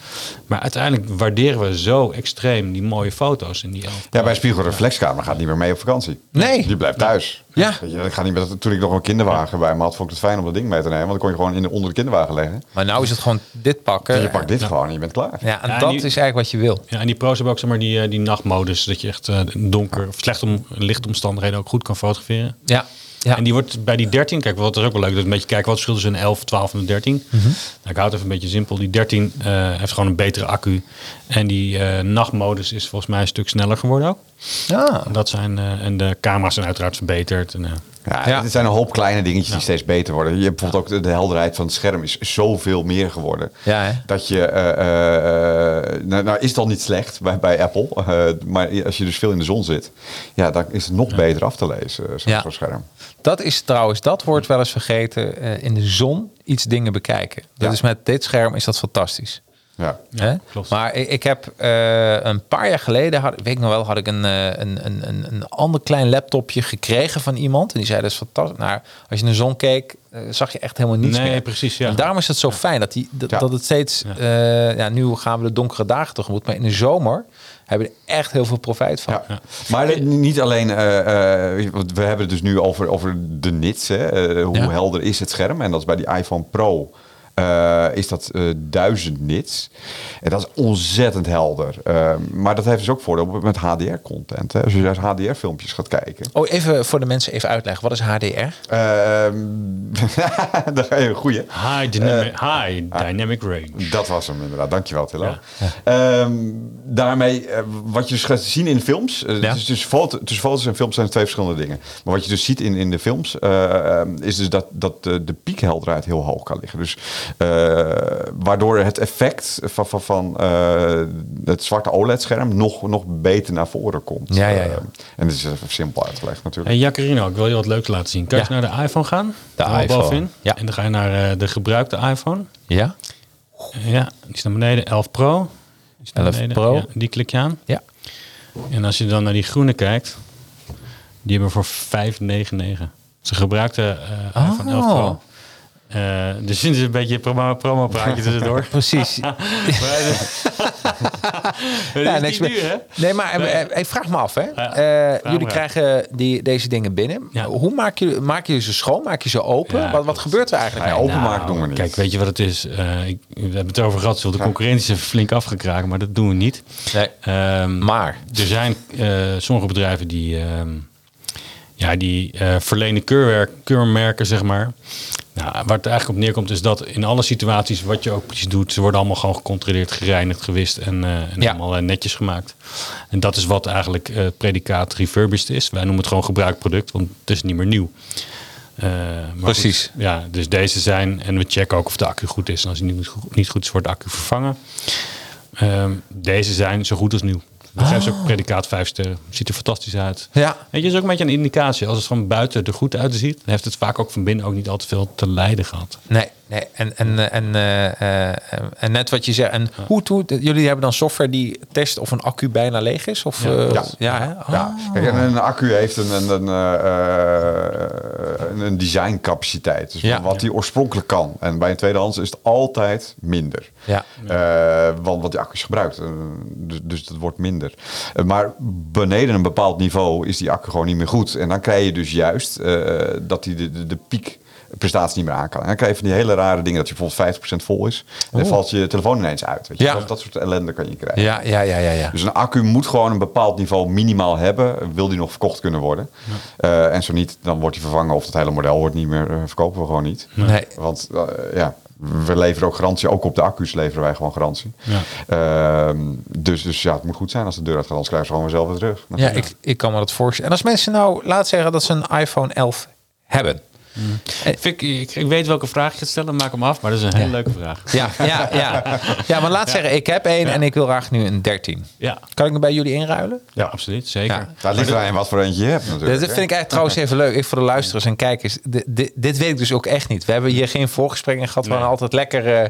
Maar uiteindelijk waarderen we zo extreem die mooie foto's in die 11 Pro. Ja, bij een spiegelreflexcamera gaat niet meer mee op vakantie. Nee. Die blijft thuis. Ja. Weet je, ik ga niet met, toen ik nog een kinderwagen bij me had, vond ik het fijn om dat ding mee te nemen. Want dan kon je gewoon in de, onder de kinderwagen leggen. Maar nou is het gewoon dit pakken. En Dus je pakt dit gewoon en je bent klaar. Ja, en Ja, en dat die- is eigenlijk wat je wil. Ja, en die pro's hebben ook zeg maar, die, eh, die nachtmodus. Dat je echt eh, donker, of slecht om, lichtomstandigheden ook goed kan fotograferen. Ja. ja. En die wordt bij die 13, kijk, wat is ook wel leuk, dat is een beetje kijken wat het verschil is tussen een 11, 12 en een 13. Mhm. Nou, ik hou het even een beetje simpel. Die 13 eh, heeft gewoon een betere accu. En die eh, nachtmodus is volgens mij een stuk sneller geworden ook. ja. Dat zijn, eh, en de camera's zijn uiteraard verbeterd. En, eh, Ja, Ja. Het zijn een hoop kleine dingetjes die steeds beter worden. Je hebt bijvoorbeeld ook de, de helderheid van het scherm is zoveel meer geworden. Ja, hè? dat je... eh, eh, eh, nou, nou is het al niet slecht bij, bij Apple. eh, maar als je dus veel in de zon zit, ja, dan is het nog beter af te lezen, eh, zo'n Ja. zo'n scherm. Dat is trouwens, dat wordt wel eens vergeten. eh, in de zon iets dingen bekijken. Dat Ja. is met dit scherm is dat fantastisch. Ja. Hè? klopt. Maar ik, ik heb eh, een paar jaar geleden, had, weet ik nog wel, had ik een, eh, een, een, een, een ander klein laptopje gekregen van iemand. En die zei, dat is fantastisch. Nou, als je naar de zon keek, eh, zag je echt helemaal niets Nee, meer. precies, ja. En daarom is het zo fijn dat, die, dat, Ja. dat het steeds... Ja. ja, nu gaan we de donkere dagen tegemoet. Maar in de zomer hebben we er echt heel veel profijt van. Ja. Maar ni- niet alleen, eh, eh, want we hebben het dus nu over, over de nits. Hè? eh, hoe Ja. helder is het scherm? En dat is bij die iPhone Pro. eh, is dat eh 1000 nits. En dat is ontzettend helder. Eh, maar dat heeft dus ook voordeel met HDR-content. Als je juist HDR-filmpjes gaat kijken. Oh, even voor de mensen even uitleggen. Wat is HDR? Eh, daar Ehm, ga je een goeie. high, dynamic, high eh, dynamic range. Dat was hem inderdaad. Dankjewel, Tillo. Ehm, daarmee, eh, wat je dus gaat zien in films... eh, Ja. dus, tussen, foto, tussen foto's en films zijn het twee verschillende dingen. Maar wat je dus ziet in, in de films... eh, ehm, is dus dat, dat de, de piekhelderheid heel hoog kan liggen. Dus eh, waardoor het effect van, van, van eh, het zwarte OLED-scherm... Nog, nog beter naar voren komt. Ja, ja, ja. Ehm, en dat is even simpel uitgelegd natuurlijk. Hey Jacarino, ik wil je wat leuks laten zien. Kan je Ja. eens naar de iPhone gaan? De Helemaal iPhone, bovenin. ja. En dan ga je naar eh, de gebruikte iPhone. Ja? Ja, die is naar beneden. 11 Pro. Die is naar 11 Pro. Ja, die klik je aan. Ja. En als je dan naar die groene kijkt, die hebben we voor 5,99. Ze gebruikte eh Oh. iPhone 11 Pro. Eh, dus dit is een beetje promo, promo praatje tussendoor. Precies. ja, Ja, niks is niks niet duur, hè? meer. Nee, maar eh, eh, ik vraag me af, hè. Eh, vraag jullie maar. krijgen die, deze dingen binnen. Ja. Hoe maak je, maak je ze schoon? Maak je ze open? Ja, wat, wat klopt. gebeurt er eigenlijk? nou? Ja, mee? openmaak doen we niet. Nou, Kijk, weet je wat het is? Eh, ik, we hebben het over gehad, ze wilden de concurrentie is flink afgekraken, maar dat doen we niet. Nee. Ehm, Eh, Maar. Er zijn eh, sommige bedrijven die, ehm, ja, die eh, verlenen keurwerk, keurmerken, zeg maar. Nou, waar het eigenlijk op neerkomt is dat in alle situaties wat je ook precies doet, ze worden allemaal gewoon gecontroleerd, gereinigd, gewist en, eh, en Ja. allemaal eh, netjes gemaakt. En dat is wat eigenlijk eh, het predicaat refurbished is. Wij noemen het gewoon gebruikproduct, want het is niet meer nieuw. Eh, maar goed, Precies. ja, dus deze zijn en we checken ook of de accu goed is. En als die niet goed, niet goed is, wordt de accu vervangen. Ehm, deze zijn zo goed als nieuw. Dan geven ze ook predicaat 5 sterren. Ziet er fantastisch uit. Ah. Ja. Weet je, is ook een beetje een indicatie. Als het van buiten er goed uitziet, dan heeft het vaak ook van binnen ook niet al te veel te lijden gehad. Nee, nee. En, en, eh, en, eh, eh, eh, en net wat je zei. En hoe, hoe, jullie hebben dan software die test of een accu bijna leeg is? Of, eh, ja. Ja. hè? Oh. Ja, kijk, en een accu heeft een, een, een, eh, eh, een een, een designcapaciteit. Dus Ja. wat die oorspronkelijk kan. En bij een tweedehands is het altijd minder. Ja. Eh, want wat die accu is gebruikt. Eh, dus, dus dat wordt minder. Eh, maar beneden een bepaald niveau is die accu gewoon niet meer goed. En dan krijg je dus juist eh, dat die de, de, de piek prestatie niet meer aan kan. En dan krijg je van die hele rare dingen dat je bijvoorbeeld 50% vol is. En dan valt je telefoon ineens uit. Weet je? Oh. Ja. Dat, dat soort ellende kan je krijgen. Ja, ja, ja, ja. ja. Dus een accu moet gewoon een bepaald niveau minimaal hebben. Wil die nog verkocht kunnen worden? Eh, en zo niet, dan wordt die vervangen of dat hele model wordt niet meer, eh, verkopen we gewoon niet. Nee. Want eh, ja, we leveren ook garantie. Ook op de accu's leveren wij gewoon garantie. Ja. Ehm, dus, dus ja, het moet goed zijn als de deur uitgaat. Anders krijgen ze gewoon weer zelf weer terug. Ja, ik, ik kan me dat voorstellen. En als mensen nou, laat zeggen dat ze een iPhone 11 hebben. Fik, ik, ik weet welke vraag je gaat stellen, maak hem af. Maar dat is een hele Eh. Ja. leuke vraag. Ja, ja, ja. ja maar laat zeggen, ik heb één en ik wil graag nu een 13. Ja, Kan ik hem bij jullie inruilen? ja absoluut. Zeker. Ja. Daar ligt er aan wat voor eentje je hebt Dat natuurlijk. vind ik eigenlijk trouwens even leuk. Ik voor de luisteraars en kijkers. Dit, dit, dit weet ik dus ook echt niet. We hebben hier geen voorgesprekken gehad. We Nee. gaan altijd lekker, eh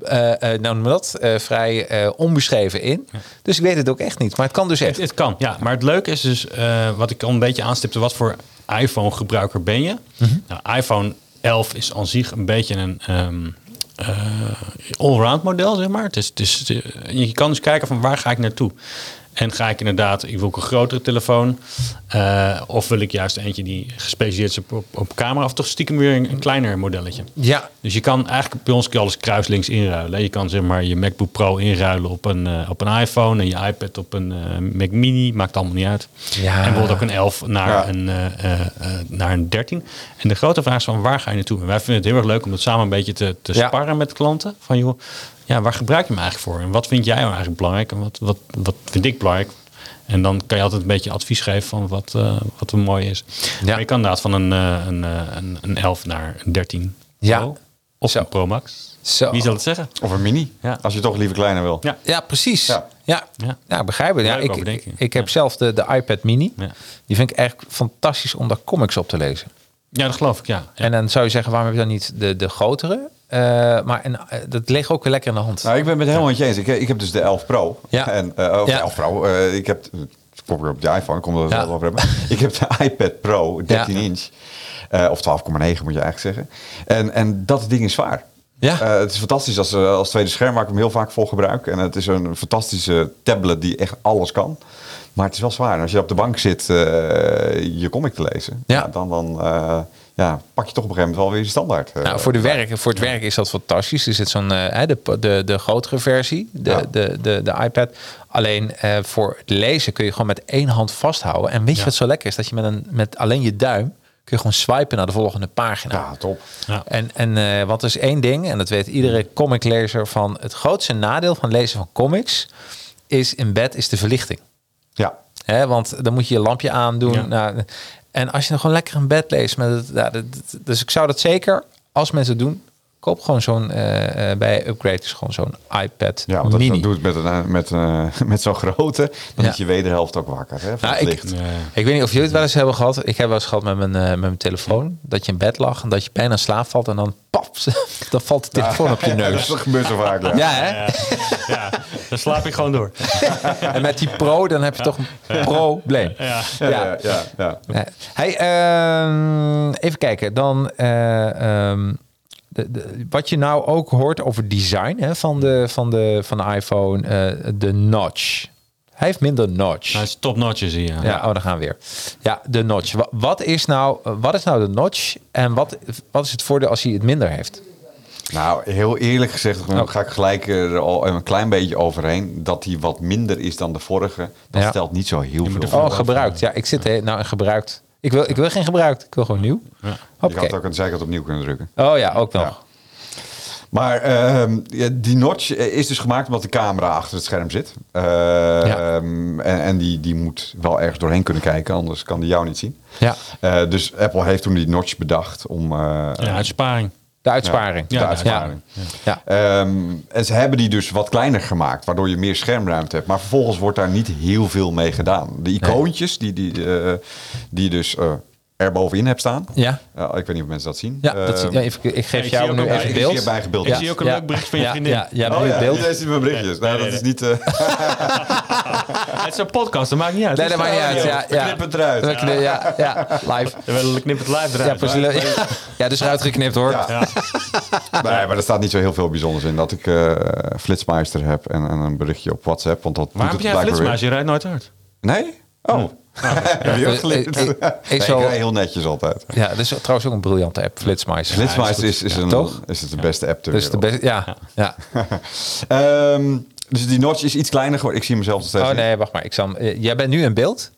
eh, eh, nou noem dat, eh, vrij eh, onbeschreven in. Dus ik weet het ook echt niet. Maar het kan dus Het, echt. het kan, ja. Maar het leuke is dus, eh, wat ik al een beetje aanstipte, wat voor iPhone-gebruiker ben je? Nou, iPhone 11 is aan zich een beetje een ehm eh, allround model, zeg maar. Het is, het is, het is- je kan dus kijken van waar ga ik naartoe? En ga ik inderdaad, ik wil ook een grotere telefoon. eh, of wil ik juist eentje die gespecialiseerd is op, op, op camera. Of toch stiekem weer een, een kleiner modelletje. Ja, Dus je kan eigenlijk bij ons kun je alles kruislinks inruilen. Je kan zeg maar je MacBook Pro inruilen op een, eh, op een iPhone en je iPad op een eh, Mac Mini. Maakt allemaal niet uit. Ja. En bijvoorbeeld ook een 11 naar, Ja. een, eh, eh, eh, naar een 13. En de grote vraag is van waar ga je naartoe? En wij vinden het heel erg leuk om dat samen een beetje te, te Ja. sparren met klanten. Van joh, ja, waar gebruik je hem eigenlijk voor? En wat vind jij nou eigenlijk belangrijk? En wat, wat, wat vind ik belangrijk? En dan kan je altijd een beetje advies geven van wat, eh, wat er mooi is. Ja. Maar je kan inderdaad van een, eh, een, eh, een, een 11 naar een 13 Ja. Pro. Of Zo. een Pro Max. Zo. Wie zal het zeggen? Of een mini. Ja. Als je toch liever kleiner wil. Ja. ja precies. Ja. Ja. Ja. Ja. ik begrijp het. Ja, Leuke ik, ik, overdenking. heb Ja. zelf de, de iPad mini. Ja. Die vind ik echt fantastisch om daar comics op te lezen. Ja, dat geloof ik, ja. ja. En dan zou je zeggen, waarom heb je dan niet de, de grotere? Eh, maar een, eh, dat leeg ook weer lekker in de hand. Nou, ik ben het helemaal met je eens. Ik, ik heb dus de 11 Pro. Ja. En, eh, of Ja. de 11 Pro. eh, ik heb... Ik kom weer op de iPhone, ik kom er Ja. wel over hebben. Ik heb de iPad Pro, 13 Ja. inch. eh, of 12,9 moet je eigenlijk zeggen. En, en dat ding is zwaar. Ja. Eh, het is fantastisch als, eh, als tweede scherm, waar ik hem heel vaak vol gebruik. En het is een fantastische tablet die echt alles kan. Maar het is wel zwaar. En als je op de bank zit eh, je comic te lezen, Ja. dan, dan eh, ja, pak je toch op een gegeven moment wel weer je standaard. eh, Nou, voor, de werk, voor het werk is dat fantastisch. Er zit zo'n eh, hè, de, de, de grotere versie, de, Ja. de, de, de iPad. Alleen eh, voor het lezen kun je gewoon met één hand vasthouden. En weet je wat zo lekker is? Dat je met, een, met alleen je duim kun je gewoon swipen naar de volgende pagina. Ja, top. Ja. En, en eh wat is één ding, en dat weet iedere comiclezer van het grootste nadeel van lezen van comics is in bed is de verlichting. Ja. Hè, want dan moet je je lampje aandoen. Ja. Nou, en als je dan gewoon lekker in bed leest. Met het, ja, dat- dat- dus ik zou dat zeker, als mensen het doen, koop gewoon zo'n, eh, eh, bij Upgrade is gewoon zo'n iPad Ja, want als je mini. dat doet met, een, met, eh, met zo'n grote, dan Ja. is je wederhelft ook wakker. Hè, van Nou, het ik- licht. Ik weet niet of jullie het wel eens hebben gehad. Ik heb wel eens gehad met mijn, eh, met mijn telefoon. Dat je in bed lag en dat je bijna in slaap valt. En dan pap, dan valt de telefoon op je Ja, neus. dat gebeurt zo vaak. Ja. Ja, hè? ja, dan slaap ik gewoon door. En met die pro, dan heb je toch een probleem. Ja. Ja, ja, ja, ja. Nee. Hey, ehm, even kijken. Dan, eh, ehm, de, de- wat je nou ook hoort over design hè, van, de, van, de, van de iPhone, eh, de notch. Hij heeft minder notch. Hij is topnotjes hier. Ja, oh, daar gaan we weer. Ja, de notch. Wa- Wat is nou, wat is nou de notch en wat, wat is het voordeel als hij het minder heeft? Nou, heel eerlijk gezegd dan ga ik gelijk er al een klein beetje overheen. Dat die wat minder is dan de vorige, dat Ja. stelt niet zo heel veel. voor. Oh, gebruikt. Ja, ik zit hè, nou in gebruikt. Ik wil, ik wil geen gebruikt. Ik wil gewoon nieuw. Je Oké. had het ook aan de zijkant opnieuw kunnen drukken. Oh ja, ook nog. Ja. Maar ehm, ja, die notch eh, is dus gemaakt omdat de camera achter het scherm zit. Eh, ehm, en en die, die moet wel ergens doorheen kunnen kijken, anders kan die jou niet zien. Ja. Eh, dus Apple heeft toen die notch bedacht om... eh, Ja, uitsparing. De uitsparing. de Ja, uitsparing. ja. Ehm, en ze hebben die dus wat kleiner gemaakt, waardoor je meer schermruimte hebt. Maar vervolgens wordt daar niet heel veel mee gedaan. De icoontjes die, die, eh, die dus eh, erbovenin heb staan. Ja, Eh, ik weet niet of mensen dat zien. ja, dat, Eh, zie- ja ik, ik geef ik zie jou ook nu een even beetje- ik zie beeld. hierbij gebeeld. Ik Ja. zie ook een Ja. leuk bericht van je Ja, vriendin. ja, ja, Oh nu het ja, beeld. iedereen ziet mijn berichtjes. Nee, nou, nee, dat is niet... eh Het is een podcast, dat maakt niet uit. Nee, dat maakt niet uit. Ja, oh, we ja. knippen het eruit. We knippen- Ja, ja, live. We knippen het live Ja, eruit. precies. Ja, Ja, dus eruit geknipt hoor. Ja. Nee, maar er staat niet zo heel veel bijzonders in dat ik eh flitsmeister heb en, en een berichtje op WhatsApp. Want dat Waarom doet heb het jij een blijkbaar flitsmaas? Je rijdt nooit hard. weer. Nee? Oh. heb je ook Eh, geleerd? eh, eh, Nee, ik ik zal- rij heel netjes altijd. Ja, dat is trouwens ook een briljante app, Flitsmeister. Flitsmeister is, is, een, Toch? is het de beste app ter Dus de wereld. beste, ja, ja. Ehm, dus die notch is iets kleiner geworden. Ik zie mezelf nog steeds Oh niet. nee, wacht maar. Ik zal, hem- eh, jij bent nu in beeld.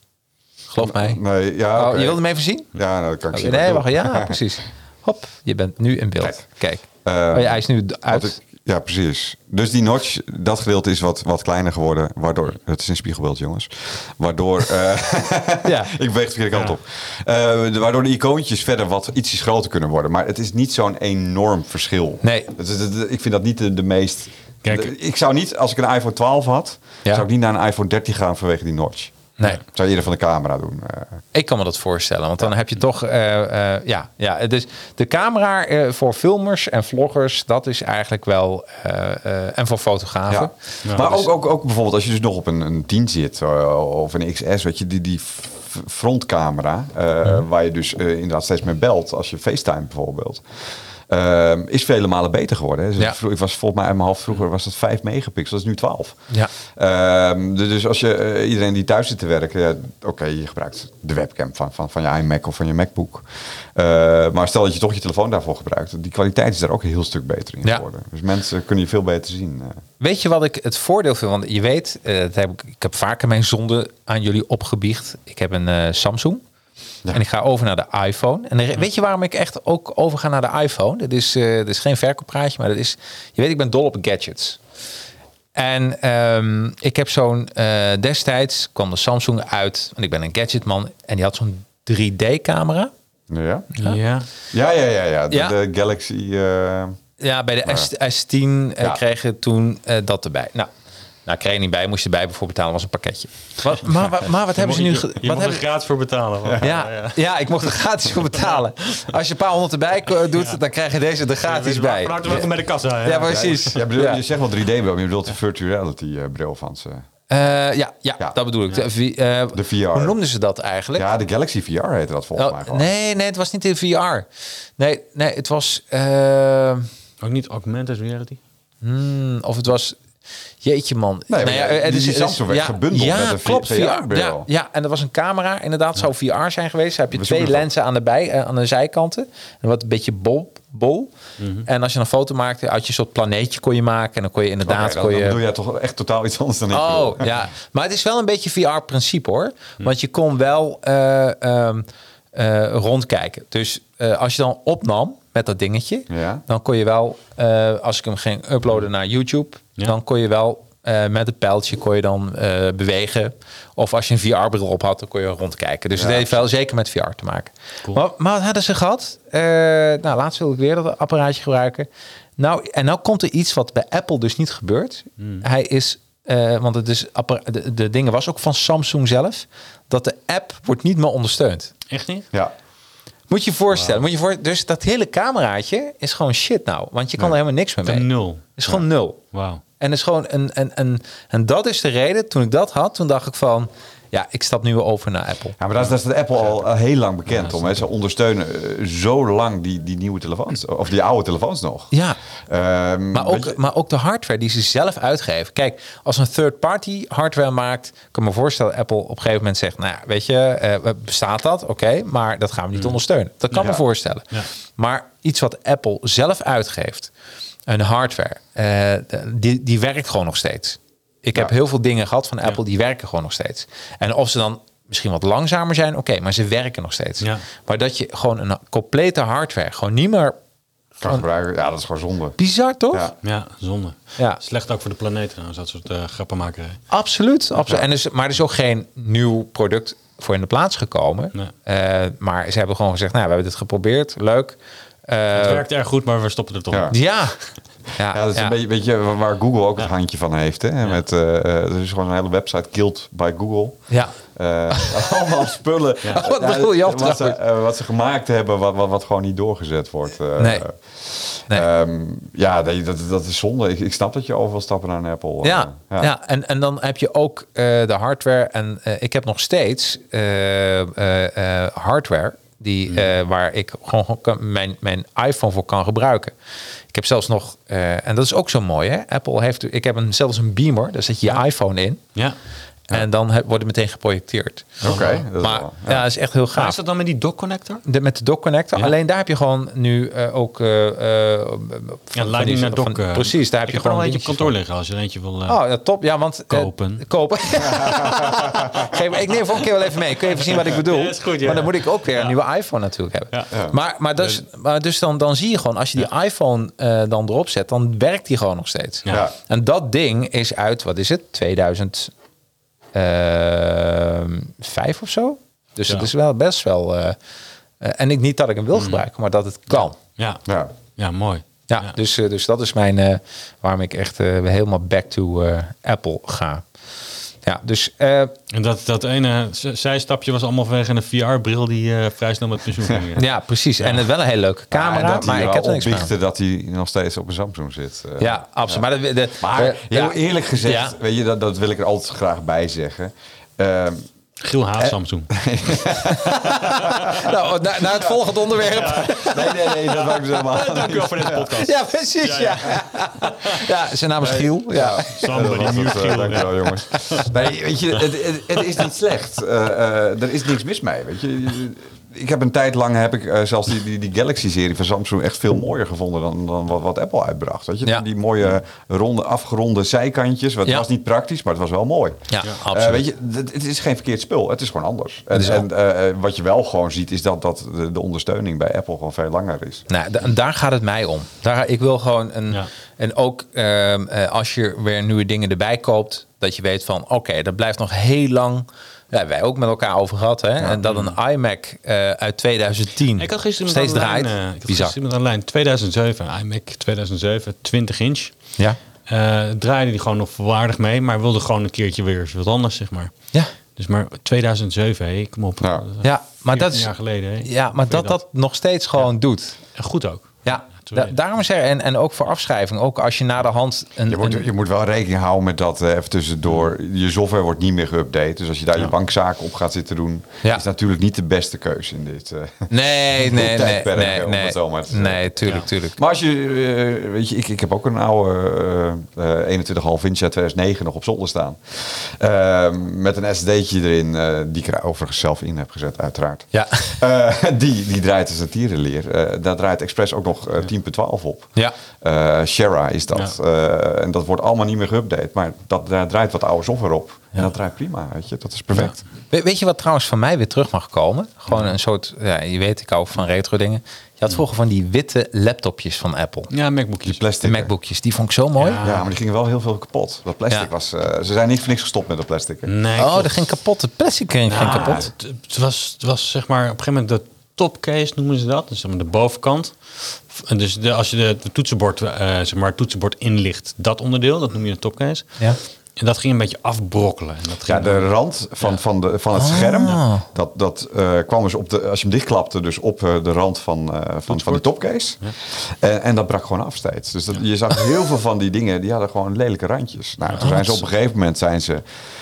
Geloof mij. Nee, ja, Oh, oké. je wilde hem even zien? Ja, nou, dat kan ik zien. nee, wat wacht. ik Ja, precies. Hop, je bent nu in beeld. Kijk. Kijk. Oh, Eh, ja, hij is nu d- doe. uit. Wat ik- ja, precies. Dus die notch, dat gedeelte is wat, wat kleiner geworden. Waardoor, het is een spiegelbeeld, jongens. Waardoor... eh, Ja. ik beweeg de verkeerde kant op. Eh, de- waardoor de icoontjes verder wat ietsjes groter kunnen worden. Maar het is niet zo'n enorm verschil. Nee. Het is- het- het- ik vind dat niet de, de meest... Kijk. de- ik zou niet, als ik een iPhone 12 had, Ja. zou ik niet naar een iPhone 13 gaan vanwege die notch. Nee. Zou je eerder van de camera doen. eh. Ik kan me dat voorstellen, want dan heb je toch... eh, eh, ja, ja, dus de camera eh, voor filmers en vloggers, dat is eigenlijk wel... eh, eh, en voor fotografen. Ja. maar ook, ook, ook bijvoorbeeld als je dus nog op een, een 10 zit eh, of een XS, weet je, die, die f- frontcamera, eh, waar je dus eh, inderdaad steeds mee belt als je FaceTime bijvoorbeeld. eh, is vele malen beter geworden. Hè. Dus Ja. vro- Ik was volgens mij uit mijn hoofd vroeger was dat 5 megapixel, dat is nu 12. Ja. Ehm, du- dus als je eh, iedereen die thuis zit te werken, ja, oké, je gebruikt de webcam van, van, van je iMac of van je MacBook. Eh, maar stel dat je toch je telefoon daarvoor gebruikt, die kwaliteit is daar ook een heel stuk beter in Ja. geworden. Dus mensen kunnen je veel beter zien. eh. Weet je wat ik het voordeel vind? Want je weet, eh, dat heb ik, ik heb vaker mijn zonde aan jullie opgebiecht. Ik heb een eh, Samsung. En ik ga over naar de iPhone. En de re- weet je waarom ik echt ook overga naar de iPhone? Dit is, eh dit is geen verkooppraatje, maar dat is... Je weet, ik ben dol op gadgets. En ehm, ik heb zo'n... eh, destijds kwam de Samsung uit. Want ik ben een gadgetman. En die had zo'n 3D-camera. Ja. Ja. Ja, ja, ja, ja. De, Ja. de Galaxy. eh, Ja, bij de S, S10 eh, Ja. kreeg je toen eh, dat erbij. Nou, nou, kreeg je niet bij, moest je erbij voor betalen, was een pakketje. Wat, maar, maar, maar wat hebben ze nu... ge- Je wat moet er hebben, gratis voor betalen. hoor. ja, ja. ik mocht er gratis voor betalen. Als je een paar honderd erbij ko- doet, dan krijg je deze er Weet gratis je, bij. Van harte welkom bij de kassa. hè. Ja, precies. ja, bedoel, Ja. Je zegt wel 3D-bril, maar je bedoelt de virtuality eh, bril van ze. Eh, ja, ja, Ja. dat bedoel ik. De, vi- eh, De VR. Hoe noemden ze dat eigenlijk? Ja, de Galaxy VR heette dat volgens mij Oh, gewoon. nee, nee, het was niet in VR. Nee, nee het was... eh, Ook niet augmented reality. Hmm, of het was. Jeetje man. Nou Nee, maar die- het die het Samsung werd gebundeld ja, met een klopt, VR-bril. Ja, ja, en dat was een camera. Inderdaad, zou VR zijn geweest. Dan heb je We twee zoeken het lenzen aan de, bij, eh, aan de zijkanten. En wat een beetje bol. bol. Mhm. En als je een foto maakte, had je een soort planeetje kon je maken. En dan kon je Oké, inderdaad... dan, kon dan je, bedoel jij toch echt totaal iets anders dan Mhm. ik Oh, bedoel. ja. Maar het is wel een beetje VR-principe hoor. Want je kon wel eh, ehm, eh, rondkijken. Dus eh, als je dan opnam met dat dingetje, Ja. dan kon je wel, eh, als ik hem ging uploaden naar YouTube, Ja. dan kon je wel eh, met het pijltje kon je dan eh, bewegen. Of als je een VR-bril op had, dan kon je rondkijken. Dus het heeft wel zeker met VR te maken. Maar, maar wat hadden ze gehad? Eh, nou, laatst wil ik weer dat apparaatje gebruiken. Nou, en nou komt er iets wat bij Apple dus niet gebeurt. Hij is, eh, want het is appara- de, de dingen was ook van Samsung zelf, dat de app wordt niet meer ondersteund. Echt niet? Ja. Moet je je voorstellen. Moet je voor, dus dat hele cameraatje is gewoon shit nou. Want je kan er helemaal niks meer mee. Een nul. is gewoon nul. Wauw. En, is gewoon een, en, en, en dat is de reden, toen ik dat had, toen dacht ik van... Ja, ik stap nu weer over naar Apple. Ja, maar daar is, daar is de Apple al al heel lang bekend om. Hè. Ze ondersteunen eh, zo lang die, die nieuwe telefoons, of die oude telefoons nog. Ja, Ehm, maar weet je- ook, maar ook de hardware die ze zelf uitgeven. Kijk, als een third-party hardware maakt... kan ik me voorstellen dat Apple op een gegeven moment zegt... nou ja, weet je, eh, bestaat dat? Oké, maar dat gaan we niet ondersteunen. Dat kan Mm. Ja. me voorstellen. Maar iets wat Apple zelf uitgeeft... een hardware, eh, die, die werkt gewoon nog steeds. Ik heb heel veel dingen gehad van Apple, die werken gewoon nog steeds. En of ze dan misschien wat langzamer zijn, oké, maar ze werken nog steeds. Ja. Maar dat je gewoon een complete hardware, gewoon niet meer... kan gebruiken. Ja, dat is gewoon zonde. Bizar, toch? Ja. Ja, zonde. Ja. Slecht ook voor de planeet trouwens, dat soort eh grappenmakerij. Absoluut. absoluut. En dus, maar er is ook geen nieuw product voor in de plaats gekomen. Nee. Eh, maar ze hebben gewoon gezegd, nou, we hebben dit geprobeerd, leuk. Eh, Het werkt erg goed, maar we stoppen er toch. Ja. mee. ja, Ja, Ja, dat is ja. een beetje, beetje waar Google ook het handje van heeft. Hè? Met, eh, eh, er is gewoon een hele website, Killed by Google. Ja. Eh, allemaal spullen. Oh, wat briljant wat, ze, trouwens. eh, wat ze gemaakt hebben, wat, wat, wat gewoon niet doorgezet wordt. Eh, Nee. Nee. ehm, ja, nee, dat, dat is zonde. Ik, ik snap dat je over wil stappen naar een Apple. eh, Ja, ja. En, en dan heb je ook eh, de hardware. En eh, ik heb nog steeds eh, eh, eh, hardware die, Mm. eh, waar ik gewoon gewoon kan- mijn, mijn iPhone voor kan gebruiken. Ik heb zelfs nog, eh, en dat is ook zo mooi, hè? Apple heeft, ik heb een, zelfs een beamer, daar zet je je iPhone in. Ja. En dan heb- wordt het meteen geprojecteerd. Oké. dat is Maar wel- ja. dat is echt heel Maar gaaf. is dat dan met die dock connector? De, met de dock connector. Ja. Alleen daar heb je gewoon nu eh, ook. eh, eh, van- Ja, van die- leiding naar van- dock. eh. precies, daar heb ik je heb er gewoon al eentje dingetjes op kantoor liggen als je er eentje wil. eh, Oh, ja, top. Ja, want... eh, Kopen. kopen. Geef, maar- ik neem volgende keer wel even mee. Kun je even zien wat ik bedoel? Ja, is goed, ja. Maar dan moet ik ook weer een nieuwe iPhone natuurlijk hebben. Ja. Ja. Maar, maar, dus, maar dus dan, dan zie je gewoon... Als je die iPhone eh, dan erop zet, dan werkt die gewoon nog steeds. Ja. Ja. En dat ding is uit, wat is het? 2005 ehm, of zo? Dus Ja. het Mhm. is wel best wel... eh, eh, en ik niet dat ik hem wil gebruiken, maar dat het kan. Ja. ja. ja. mooi. Ja, Dus, eh, dus dat is mijn eh, waarom ik echt eh, helemaal back to eh, Apple ga. Ja, dus eh, En dat, dat ene z- zijstapje was allemaal vanwege een VR-bril die eh, vrij snel met pensioen ging. eh. ja. ja, precies. En het wel een hele leuke En camera, dat hij maar ik wel heb er niks mee. opbiechten dat hij nog steeds op een Samsung zit. eh. Ja, absoluut. Maar, dat, de, Maar eh, heel ja. eerlijk gezegd, Ja. weet je, dat, dat wil ik er altijd graag bij zeggen. Ehm, Giel haat Samsung. Eh, Nou, naar, naar het volgende onderwerp. Ja, nee, nee, nee, dat wou ik dus helemaal niet. voor deze podcast. precies. Ja, ja. zijn naam is Giel. Ja. Ja, Sander, dat die was mute het, eh, Giel. dankjewel, jongens. Nee, weet je, het, het, het is niet slecht. Eh, eh, er is niks mis mee, weet je. Ik heb een tijd lang, heb ik eh, zelfs die, die, die Galaxy-serie van Samsung echt veel mooier gevonden dan, dan wat, wat Apple uitbracht. Weet je, Ja. die mooie ronde, afgeronde zijkantjes. Het Ja. was niet praktisch, maar het was wel mooi. Ja, Eh, absoluut. weet je, het, het is geen verkeerd spul. Het is gewoon anders. En, is en eh, eh, wat je wel gewoon ziet, is dat, dat de, de ondersteuning bij Apple gewoon veel langer is. Nou, da- en daar gaat het mij om. Daar, ik wil gewoon een. Ja. En ook ehm, eh, als je weer nieuwe dingen erbij koopt, dat je weet van oké, dat blijft nog heel lang. Daar hebben wij ook met elkaar over gehad. Hè? En dat een iMac eh, uit 2010 Ik had gisteren steeds met draait. online, eh, ik had Bizar. gisteren met online 2007, iMac 2007, 20 inch. Ja. Eh, draaide die gewoon nog volwaardig mee, maar wilde gewoon een keertje weer eens wat anders, zeg maar. Ja. Dus maar 2007, hé, kom op. Ja. Dat is Ja, maar dat 14 is. jaar geleden, hé. Ja, maar Vind je dat dat nog steeds gewoon doet. En goed ook. Ja, da- terecht. daarom is er, en, en ook voor afschrijving, ook als je na de hand een, Je moet, een- je moet wel rekening houden met dat eh, even tussendoor. Mm-hmm. Je software wordt niet meer geüpdate. Dus als je daar je bankzaken op gaat zitten doen, Ja. is natuurlijk niet de beste keuze in dit. eh. Nee, Goed nee, nee, tijdperk, nee, om nee, het zo maar te zeggen. nee, tuurlijk, tuurlijk. Maar als je, eh, weet je, ik, ik heb ook een oude eh, eh 21,5 inch uit 2009 nog op zolder staan. Eh, met een SD'tje erin, eh, die ik er overigens zelf in heb gezet, uiteraard. Ja. Eh, die, die draait dus een tierenleer. Eh, daar draait Express ook nog eh, 10.12 op. Ja. Eh, Shara is dat. Ja. Eh, en dat wordt allemaal niet meer geüpdate. Maar dat, daar draait wat oude software op. En dat draait prima, weet je. Dat is perfect. We- weet je wat trouwens van mij weer terug mag komen? Gewoon een soort, ja, je weet, ik hou van retro dingen. Je had vroeger van die witte laptopjes van Apple. Ja, MacBookje. Die plastic. eh, De MacBookjes, die vond ik zo mooi. Ja. Ja, maar die gingen wel heel veel kapot. Dat plastic Ja. was... eh, ze zijn niet voor niks gestopt met dat plastic. hè? Nee, oh, klopt. dat ging kapot. De plastic ring ging Ja, kapot. Het, het was, het was zeg maar op een gegeven moment de topcase noemen ze dat. Dus zeg maar de bovenkant. En Dus de, als je de, de toetsenbord, eh, zeg maar, het toetsenbord inlicht, dat onderdeel, dat noem je een topcase. Ja. En dat ging een beetje afbrokkelen. En dat ging Ja, de rand van, van, de, van het scherm, dat, dat eh, kwam dus op de, als je hem dichtklapte, dus op eh, de rand van, eh, van, van die topcase. Eh, En, en dat brak gewoon af steeds. Dus dat, je zag heel veel van die dingen, die hadden gewoon lelijke randjes. Nou, toen zijn ze op een gegeven moment, zijn ze,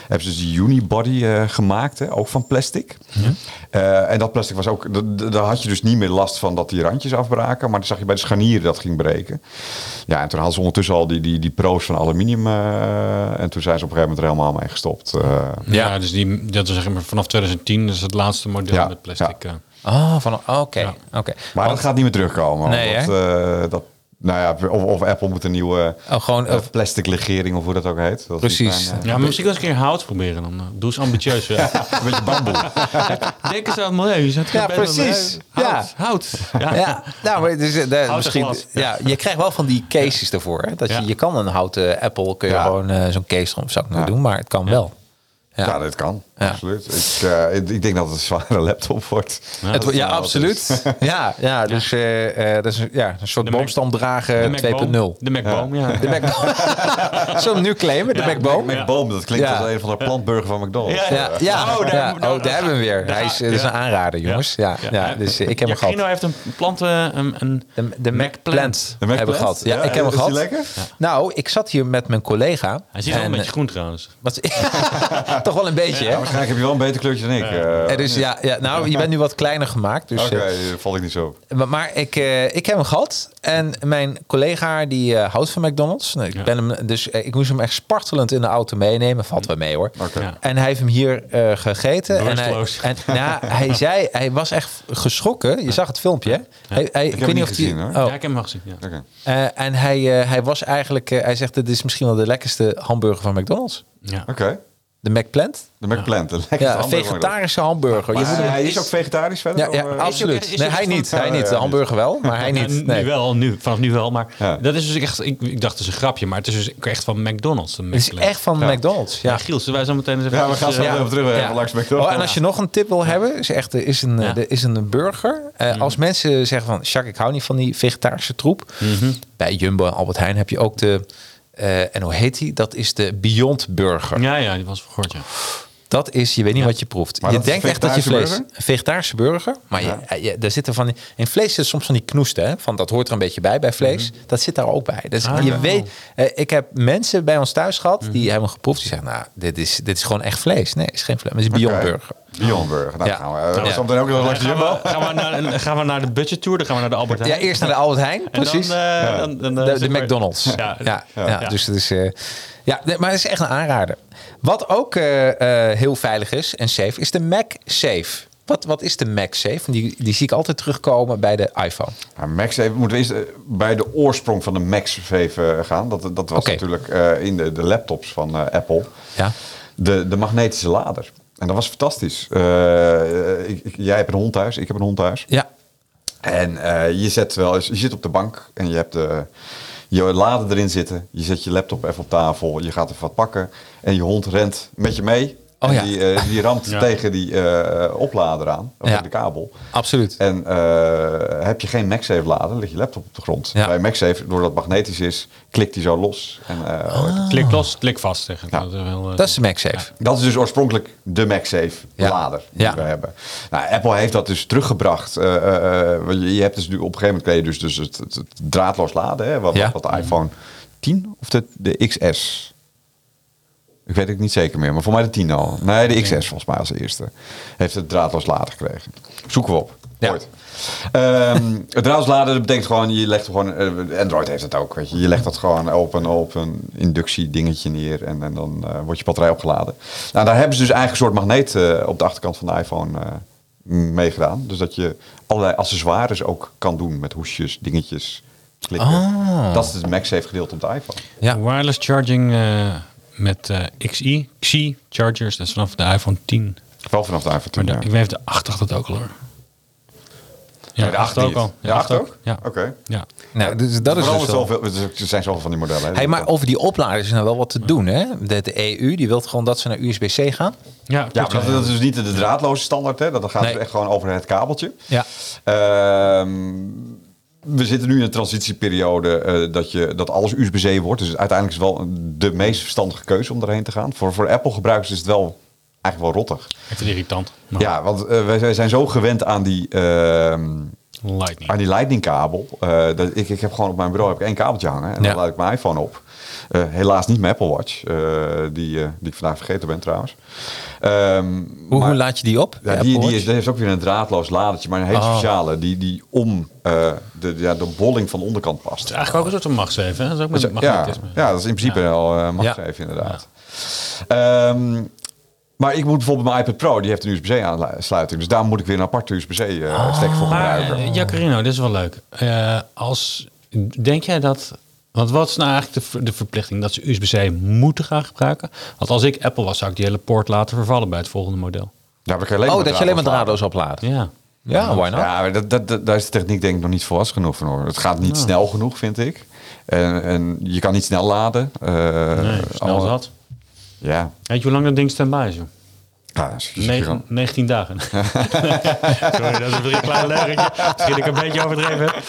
hebben ze dus die unibody eh, gemaakt, hè, ook van plastic. Eh, en dat plastic was ook, d- d- daar had je dus niet meer last van dat die randjes afbraken, maar dan zag je bij de scharnieren dat ging breken. Ja, en toen hadden ze ondertussen al die, die, die pro's van aluminium eh, en toen zijn ze op een gegeven moment er helemaal mee gestopt. eh. Ja, dus die, dat is zeg maar vanaf 2010, dat is het laatste model Ja, met plastic. eh. Oh, van, oké, Ja. oké. Maar dat gaat niet meer terugkomen. Nee, want, eh, dat, nou ja, of, of Apple moet een nieuwe Oh, gewoon, eh, of- plastic legering of hoe dat ook heet. Dat is Precies. niet mijn, eh, Ja, maar misschien als ik een keer hout proberen dan. eh, Doe eens ambitieus. eh. een beetje bamboe. Denk eens aan het milieu. Je zet Ja, bij het milieu. precies. Hout. Ja. hout. ja, nou, maar dus, eh, daar- Houten misschien, glas. ja, je krijgt wel van die cases daarvoor. Hè? Dat Ja. je, je kan een houten Apple, kun je Ja. gewoon eh, zo'n case erom, zou ik nooit doen, maar het kan wel. Ja, Ja. dat kan. Ja. Absoluut. Ik, eh, ik- ik denk dat het een zware laptop wordt. Ja, Het dat wo- ja, is wel absoluut. ja, ja, dus eh, eh, dat is een- ja, een soort Mac- boomstam De dragen 2.0. MacBoom. De MacBoom, ja. De Mac Zullen we hem nu claimen? De Ja, MacBoom? Mac- McBoom, dat klinkt Ja. als een van de plantburger van McDonald's. Ja, Ja, ja, Oh, daar- ja. nou, Oh, daar daar hebben we hem weer. ga- Hij is, dit is ja. een aanrader, jongens. Ja, ja. dus eh, ik heb hem Gino gehad. heeft een plant, eh, een, een De, de Mac Plant De hebben Mac we Plant? gehad. Ja, Ja, ik heb hem is die gehad. lekker? Nou, ik zat hier met mijn collega. Hij ziet en, er wel eh, een beetje groen trouwens. wat, Toch wel een beetje, hè? Waarschijnlijk heb je wel een beter kleurtje dan ik. eh. Er is, ja, ja, nou, je bent nu wat kleiner gemaakt. Dus, Oké, eh, eh, val ik niet zo op. Maar, maar ik, eh, ik heb hem gehad. En mijn collega die eh, houdt van McDonald's. Nou, ik ben hem, dus eh, ik moest hem echt spartelend in de auto meenemen. Valt wel mee hoor. Oké. Ja. En hij heeft hem hier eh, gegeten. En hij, Bewusteloos. en, nou, hij zei, hij was echt geschrokken. Je zag het filmpje. hè? Hij, hij, ik hem weet niet niet of gezien, hij. hoor. Oh. Ja, ik heb hem al gezien. Ja. Oké. Eh, en hij, eh, hij was eigenlijk, eh, hij zegt, dit is misschien wel de lekkerste hamburger van McDonald's. Ja. Oké. De McPlant. De McPlant. de lekkerste Ja, hamburger van McDonald's. vegetarische hamburger. Je Maar moet hem- hij is ook vegetarisch verder? ja, ja, of, eh? is absoluut. er Nee, iets hij van- niet. Hij Ja, niet. ja, De ja. hamburger wel, maar hij Ja, niet. Nee. Nu wel, nu, vanaf nu wel. Maar Ja. dat is dus echt, ik, ik dacht het is een grapje, maar het is dus ik- echt van McDonald's. Een Het is McPlant. echt van McDonald's. Ja, Ja. Giel, zullen wij zo meteen eens even... Ja, we gaan zo eh, nog even terug eh, even langs McDonald's. Oh, en als je nog een tip wil hebben, is echt eh, is een, eh, Ja. de- is een burger. Eh, Als mensen zeggen van, Jacques, ik hou niet van die vegetarische troep. Bij Jumbo en Albert Heijn heb je ook de, eh, en hoe heet die? Dat is de Beyond Burger. Ja, ja, die was vergoord, ja. Dat is, je weet niet wat je proeft. Maar je dat is denkt een echt dat je vlees... vegetarische Een vegetarische burger. Maar je- eh, je, daar zitten van... die- In vlees zit soms van die knoesten. Hè? Van, dat hoort er een beetje bij, bij vlees. Mhm. Dat zit daar ook bij. Dus Ah. je weet... eh, ik heb mensen bij ons thuis gehad... Mhm. die hebben geproefd. Die zeggen, nou, dit is, dit is gewoon echt vlees. Nee, het is geen vlees. maar Het is Beyond Oké. Burger. Beyond Burger. Nou, Ja. gaan we. eh, Ja. Zometeen ook nog langs de gaan, Jumbo. we, gaan, we naar, gaan we naar de budget tour, dan gaan we naar de Albert Heijn. Ja, eerst naar de Albert Heijn. En Precies. Dan, eh, dan, dan, eh, de, de zeg maar- McDonald's. Ja, ja, dus het is... eh, ja, nee, maar het is echt een aanrader. Wat ook eh, eh, heel veilig is en safe, is de Mac Safe. Wat, wat is de Mac Safe? Want Die, die zie ik altijd terugkomen bij de iPhone. Maar Max even, moeten we eerst eh, bij de oorsprong van de Max even eh, gaan. Dat, dat was Oké. natuurlijk eh, in de, de laptops van eh, Apple. Ja. De, de magnetische lader. En dat was fantastisch. Eh, ik, ik- jij hebt een hond thuis, ik heb een hond thuis. Ja. En eh, je, zet wel eens, je zit op de bank en je hebt de, je lader erin zitten. Je zet je laptop even op tafel. Je gaat even wat pakken. En je hond rent met je mee. Oh en ja. die, eh, die ramt Ja. tegen die eh, oplader aan. Of Ja. tegen de kabel. Absoluut. En eh, heb je geen MagSafe lader, ligt je laptop op de grond. Ja. Bij MagSafe, doordat het magnetisch is, klikt hij zo los. En, eh, Ah. Ah. Klik los, klik vast. Zeg. Ja. Dat, is wel, eh, Dat is de MagSafe. Dat is dus oorspronkelijk de MagSafe Ja. lader die Ja. we hebben. Nou, Apple heeft dat dus teruggebracht. Eh, eh, eh, want je je hebt dus nu op een gegeven moment kreeg je dus, dus het, het- het draadloos laden. Hè, wat, Ja. wat de iPhone 10 of de, de XS? Ik weet het niet zeker meer, maar voor mij de 10 al. Nee, de XS volgens mij als eerste. Heeft het draadloos laden gekregen. Zoeken we op. Ja. Ooit. Ehm, het draadloos laden dat betekent gewoon, je legt gewoon, eh, Android heeft het ook, weet je. Je legt dat gewoon op een, op een inductiedingetje neer en, en dan eh, wordt je batterij opgeladen. Nou, daar hebben ze dus eigenlijk een soort magneet eh, op de achterkant van de iPhone eh, mee gedaan. Dus dat je allerlei accessoires ook kan doen met hoesjes, dingetjes, klikken. Dat is het MagSafe gedeelte op de iPhone. Ja. Wireless charging eh, met eh, XI, XI chargers, dat is vanaf de iPhone 10. Wel vanaf de iPhone 10, Maar de, ja. ik weet de 8 had dat ook al hoor. Ja, Nee, de 8 ook niet. al. De 8 acht ook? Ja. Oké. Ja. Nou, dus dat is Vooral dus met wel. zoveel, er zijn zoveel van die modellen. hè. Hey, maar over die opladers is nou wel wat te doen, hè? De, de EU die wil gewoon dat ze naar USB-C gaan. Ja, Ja, klopt, maar dat, ja. dat is dus niet de draadloze standaard. Hè? Dat gaat Nee. dus echt gewoon over het kabeltje. Ja. Ehm, we zitten nu in een transitieperiode eh, dat, je, dat alles USB-C wordt. Dus uiteindelijk is het wel de meest verstandige keuze om erheen te gaan. Voor, voor Apple-gebruikers is het wel eigenlijk wel rottig. Ik vind het irritant. Maar Ja, want eh, wij, wij zijn zo gewend aan die... ehm, Lightning. aan die lightningkabel. eh, dat, ik, ik heb gewoon op mijn bureau heb ik één kabeltje hangen. En Ja. dan laat ik mijn iPhone op. Eh, helaas niet mijn Apple Watch. eh, die, eh, die ik vandaag vergeten ben trouwens. Ehm, Hoe, maar- hoe laat je die op? ja, De die, Apple die, is, Watch? die heeft ook weer een draadloos ladertje. Maar een hele Oh. speciale. Die, die om eh, de, ja, de bolling van de onderkant past. Het is eigenlijk ook een soort van machtszeven. hè? Dat is ook met Ja, magnetisme. ja, dat is in principe wel eh mag Ja. even inderdaad. Ehm, maar ik moet bijvoorbeeld mijn iPad Pro, die heeft een USB-C-aansluiting. Dus daar moet ik weer een aparte Ah. USB-C-stek voor Maar gebruiken. eh, Jacarino, dit is wel leuk. Eh, als, denk jij dat... Want wat is nou eigenlijk de, ver- de verplichting? Dat ze USB-C moeten gaan gebruiken? Want als ik Apple was, zou ik die hele poort laten vervallen bij het volgende model. Daar heb ik alleen Oh, dat je alleen maar draadloos laden. draadloos opladen. Ja. Ja, why not? Ja, maar dat, dat, dat- daar is de techniek denk ik nog niet volwassen genoeg van. Hoor. Het gaat niet snel genoeg, vind ik. En, en je kan niet snel laden. Eh, Nee, snel allemaal- zat. Ja, Weet je hoe lang dat ding standby is? joh? ja dat is- dat is Negen- gewoon- 19 dagen. Sorry, dat is weer een klein leugentje. Misschien ik een beetje overdreven heb.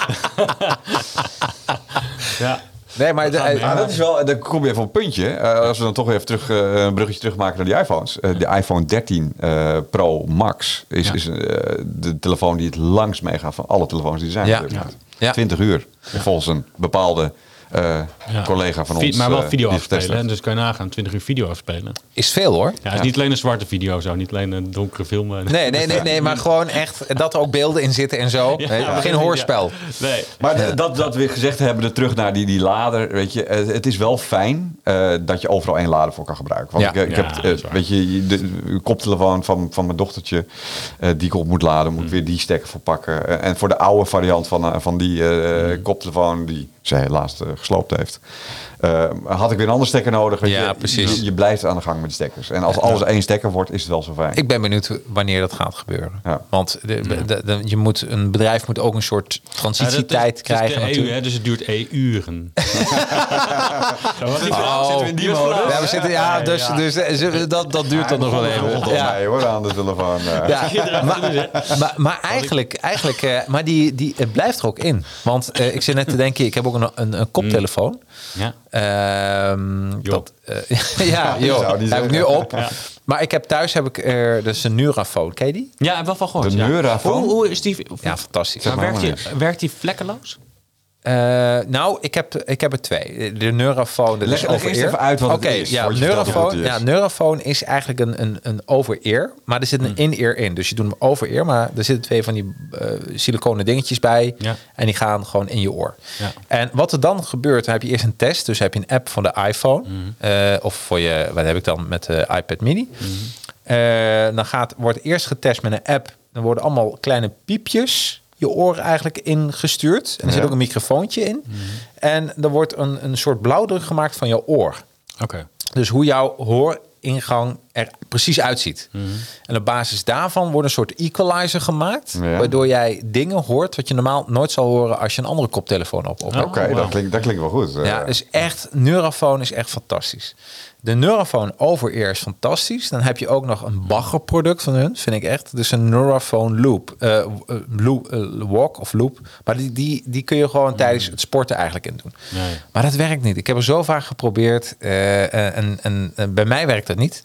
ja. Nee, maar de- eh, Ja, Ah, dat is wel, dan kom je even op een puntje. Eh, als we dan toch even terug, eh, een bruggetje terugmaken naar die iPhones. Eh, de iPhone 13 eh, Pro Max is, Ja. is eh, de telefoon die het langst meegaat van alle telefoons die er zijn. Ja. op dit moment. Ja. 20 uur, volgens een bepaalde eh, Ja. collega van Vi- ons. Maar wel eh, video die het getest afspelen. hè. heeft. Dus kan je nagaan, 20 uur video afspelen. is veel hoor. Ja, het is niet alleen een zwarte video zo. Niet alleen een donkere film. eh. Nee, nee, nee, nee, maar gewoon echt dat er ook beelden in zitten en zo. Hè, Ja, Geen ja. hoorspel. Nee. Maar d- dat, dat we gezegd hebben, terug naar die, die lader. Weet je, eh, het is wel fijn eh, dat je overal één lader voor kan gebruiken. Want Ja. ik, ik Ja, heb, dat is eh, waar. weet je, je- de, de koptelefoon van, van mijn dochtertje, eh, die ik op moet laden, Mm. moet ik weer die stekker voor pakken. Eh, en voor de oude variant van, eh, van die Mm. eh, koptelefoon, die zij helaas eh, gesloopt heeft, eh, had ik weer een andere stekker nodig. weet Ja, je. precies. Je, je blijft aan de gang met die stekkers. En als alles één stekker wordt, is het wel zo fijn. Ik ben benieuwd wanneer dat gaat gebeuren. Ja. Want de, de- de- je moet, een bedrijf moet ook een soort Ja, dat is- transitietijd het is krijgen. de EU, natuurlijk. hè, dus het duurt EU-uren. Oh. Zitten we in die modus? Ja, we zitten, ja, dus, Ja. dus, eh, ze- dat, dat duurt dan nog wel even. Ja. Ja. Mij, hoor, aan de telefoon. eh. Ja, maar, maar, maar eigenlijk, eigenlijk eh, maar die, die, het blijft er ook in. Want eh, ik zit net te denken, ik heb ook een, een, een koptelefoon. Mm. Ja. Ehm, Joh. dat, eh, ja, joh, zou die heb ik nu zeggen. op. Maar ik ik, thuis heb ik er dus een Nurafoon. Ken je die? Ja, heb wel van gehoord. De ja. Neurafoon? Hoe, hoe is die? of- Ja, fantastisch. Maar maar werkt, niks. die, werkt die vlekkeloos? Eh, nou, ik heb, ik heb er twee. De Neurafoon, dat Leg- is leg over eerst ear. even uit wat het Oké, is, Ja, voordat je vertelt wat Neurafoon, het ja, is. Neurafoon is eigenlijk een, een, een over-ear. Maar er zit Hmm. een in-ear in. Dus je doet hem over-ear. Maar er zitten twee van die eh, siliconen dingetjes bij. Ja. En die gaan gewoon in je oor. Ja. En wat er dan gebeurt, dan heb je eerst een test. Dus heb je een app van de iPhone. eh, of voor je, wat heb ik dan met de iPad mini. Eh, dan gaat, wordt eerst getest met een app. Dan worden allemaal kleine piepjes je oren eigenlijk ingestuurd. En er zit Ja. ook een microfoontje in. En er wordt een, een soort blauwdruk gemaakt van je oor. Oké. Dus hoe jouw hooringang er precies uitziet. En op basis daarvan wordt een soort equalizer gemaakt. Ja. Waardoor jij dingen hoort wat je normaal nooit zal horen als je een andere koptelefoon op. op hebt. Oh, Oké, wauw. dat, klinkt, dat klinkt wel goed. eh. Ja, dus echt, Neurafoon is echt fantastisch. De Neurafoon over-ear is fantastisch. Dan heb je ook nog een baggerproduct van hun, vind ik echt. Dus een Neurafoon Loop, eh, eh, loop eh, Walk of Loop. Maar die, die, die kun je gewoon tijdens het sporten eigenlijk in doen. Ja, ja. Maar dat werkt niet. Ik heb er zo vaak geprobeerd eh, eh, en, en, en bij mij werkt dat niet.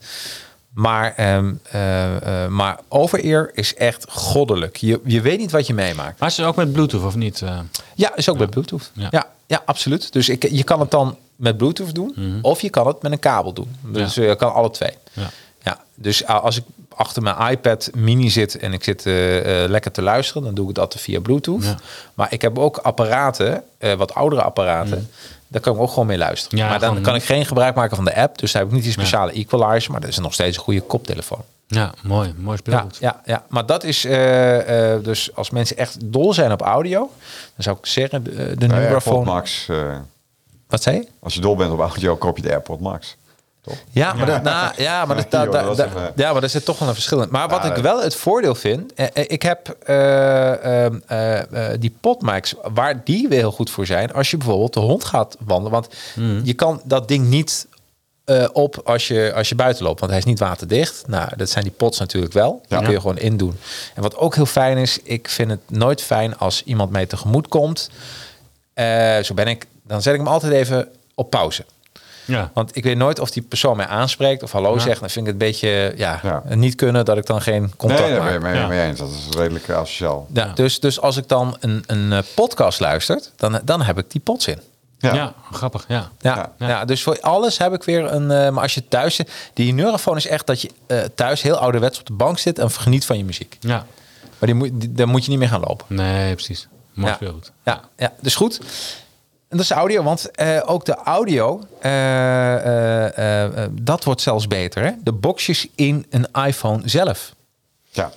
Maar, ehm eh, eh, maar over-ear is echt goddelijk. Je, je weet niet wat je meemaakt. Maar is het ook met Bluetooth of niet? eh? Ja, is ook bij Bluetooth. Ja. Ja. Ja, absoluut. Dus ik, je kan het dan met Bluetooth doen, of je kan het met een kabel doen. Dus je kan alle twee. Mhm. Ja. Ja, dus a- als ik achter mijn iPad mini zit en ik zit eh, eh, lekker te luisteren, dan doe ik dat via Bluetooth. Ja. Maar ik heb ook apparaten, eh, wat oudere apparaten, daar kan ik ook gewoon mee luisteren. Mhm. Ja, maar dan gewoon- kan ik geen gebruik maken van de app, dus daar heb ik niet die speciale equalizer, maar dat is nog steeds een goede koptelefoon. Ja, mooi. Mooi Ja, speelgoed. ja, ja, maar dat is eh, eh, dus als mensen echt dol zijn op audio, dan zou ik zeggen eh, de, de Nou ja, Neuraphone- AirPod Max. eh, wat zei je? als je dol bent op audio, koop je de AirPod Max. Ja, maar, dat- nou, ja, maar, dat, Ja, daar- joh, dat daar- was even- ja, maar er zit toch wel een verschil in. Maar wat Ja, ik dat- wel het voordeel vind, eh, eh, ik heb eh, ehm, eh, eh, die potmics, waar die weer heel goed voor zijn, als je bijvoorbeeld de hond gaat wandelen. Want Hmm. je kan dat ding niet eh, op als je, als je buiten loopt, want hij is niet waterdicht. Nou, dat zijn die pots natuurlijk wel. Die Ja. kun je gewoon indoen. En wat ook heel fijn is, ik vind het nooit fijn als iemand mij tegemoet komt. Eh, zo ben ik, dan zet ik hem altijd even op pauze. Ja. Want ik weet nooit of die persoon mij aanspreekt of hallo zegt. Dan vind ik het een beetje ja, Ja. niet kunnen dat ik dan geen Nee, contact daar ben maak. je mee, Ja. mee eens. Dat is redelijk eh, asociaal. Ja, Dus, dus als ik dan een, een eh, podcast luister, dan, dan heb ik die pots in. Ja. Ja. grappig. Ja. Ja, Ja. ja. dus voor alles heb ik weer een... eh, maar als je thuis zit... Die neurofoon is echt dat je eh, thuis heel ouderwets op de bank zit... en geniet van je muziek. Ja. Maar die moet, die- daar moet je niet meer gaan lopen. Nee, precies. Mooi Ja. speelgoed. Ja, ja, dus goed. En dat is de audio, want eh, ook de audio, eh, eh, eh, eh, dat wordt zelfs beter. Hè? De boxjes in een iPhone zelf. Ja.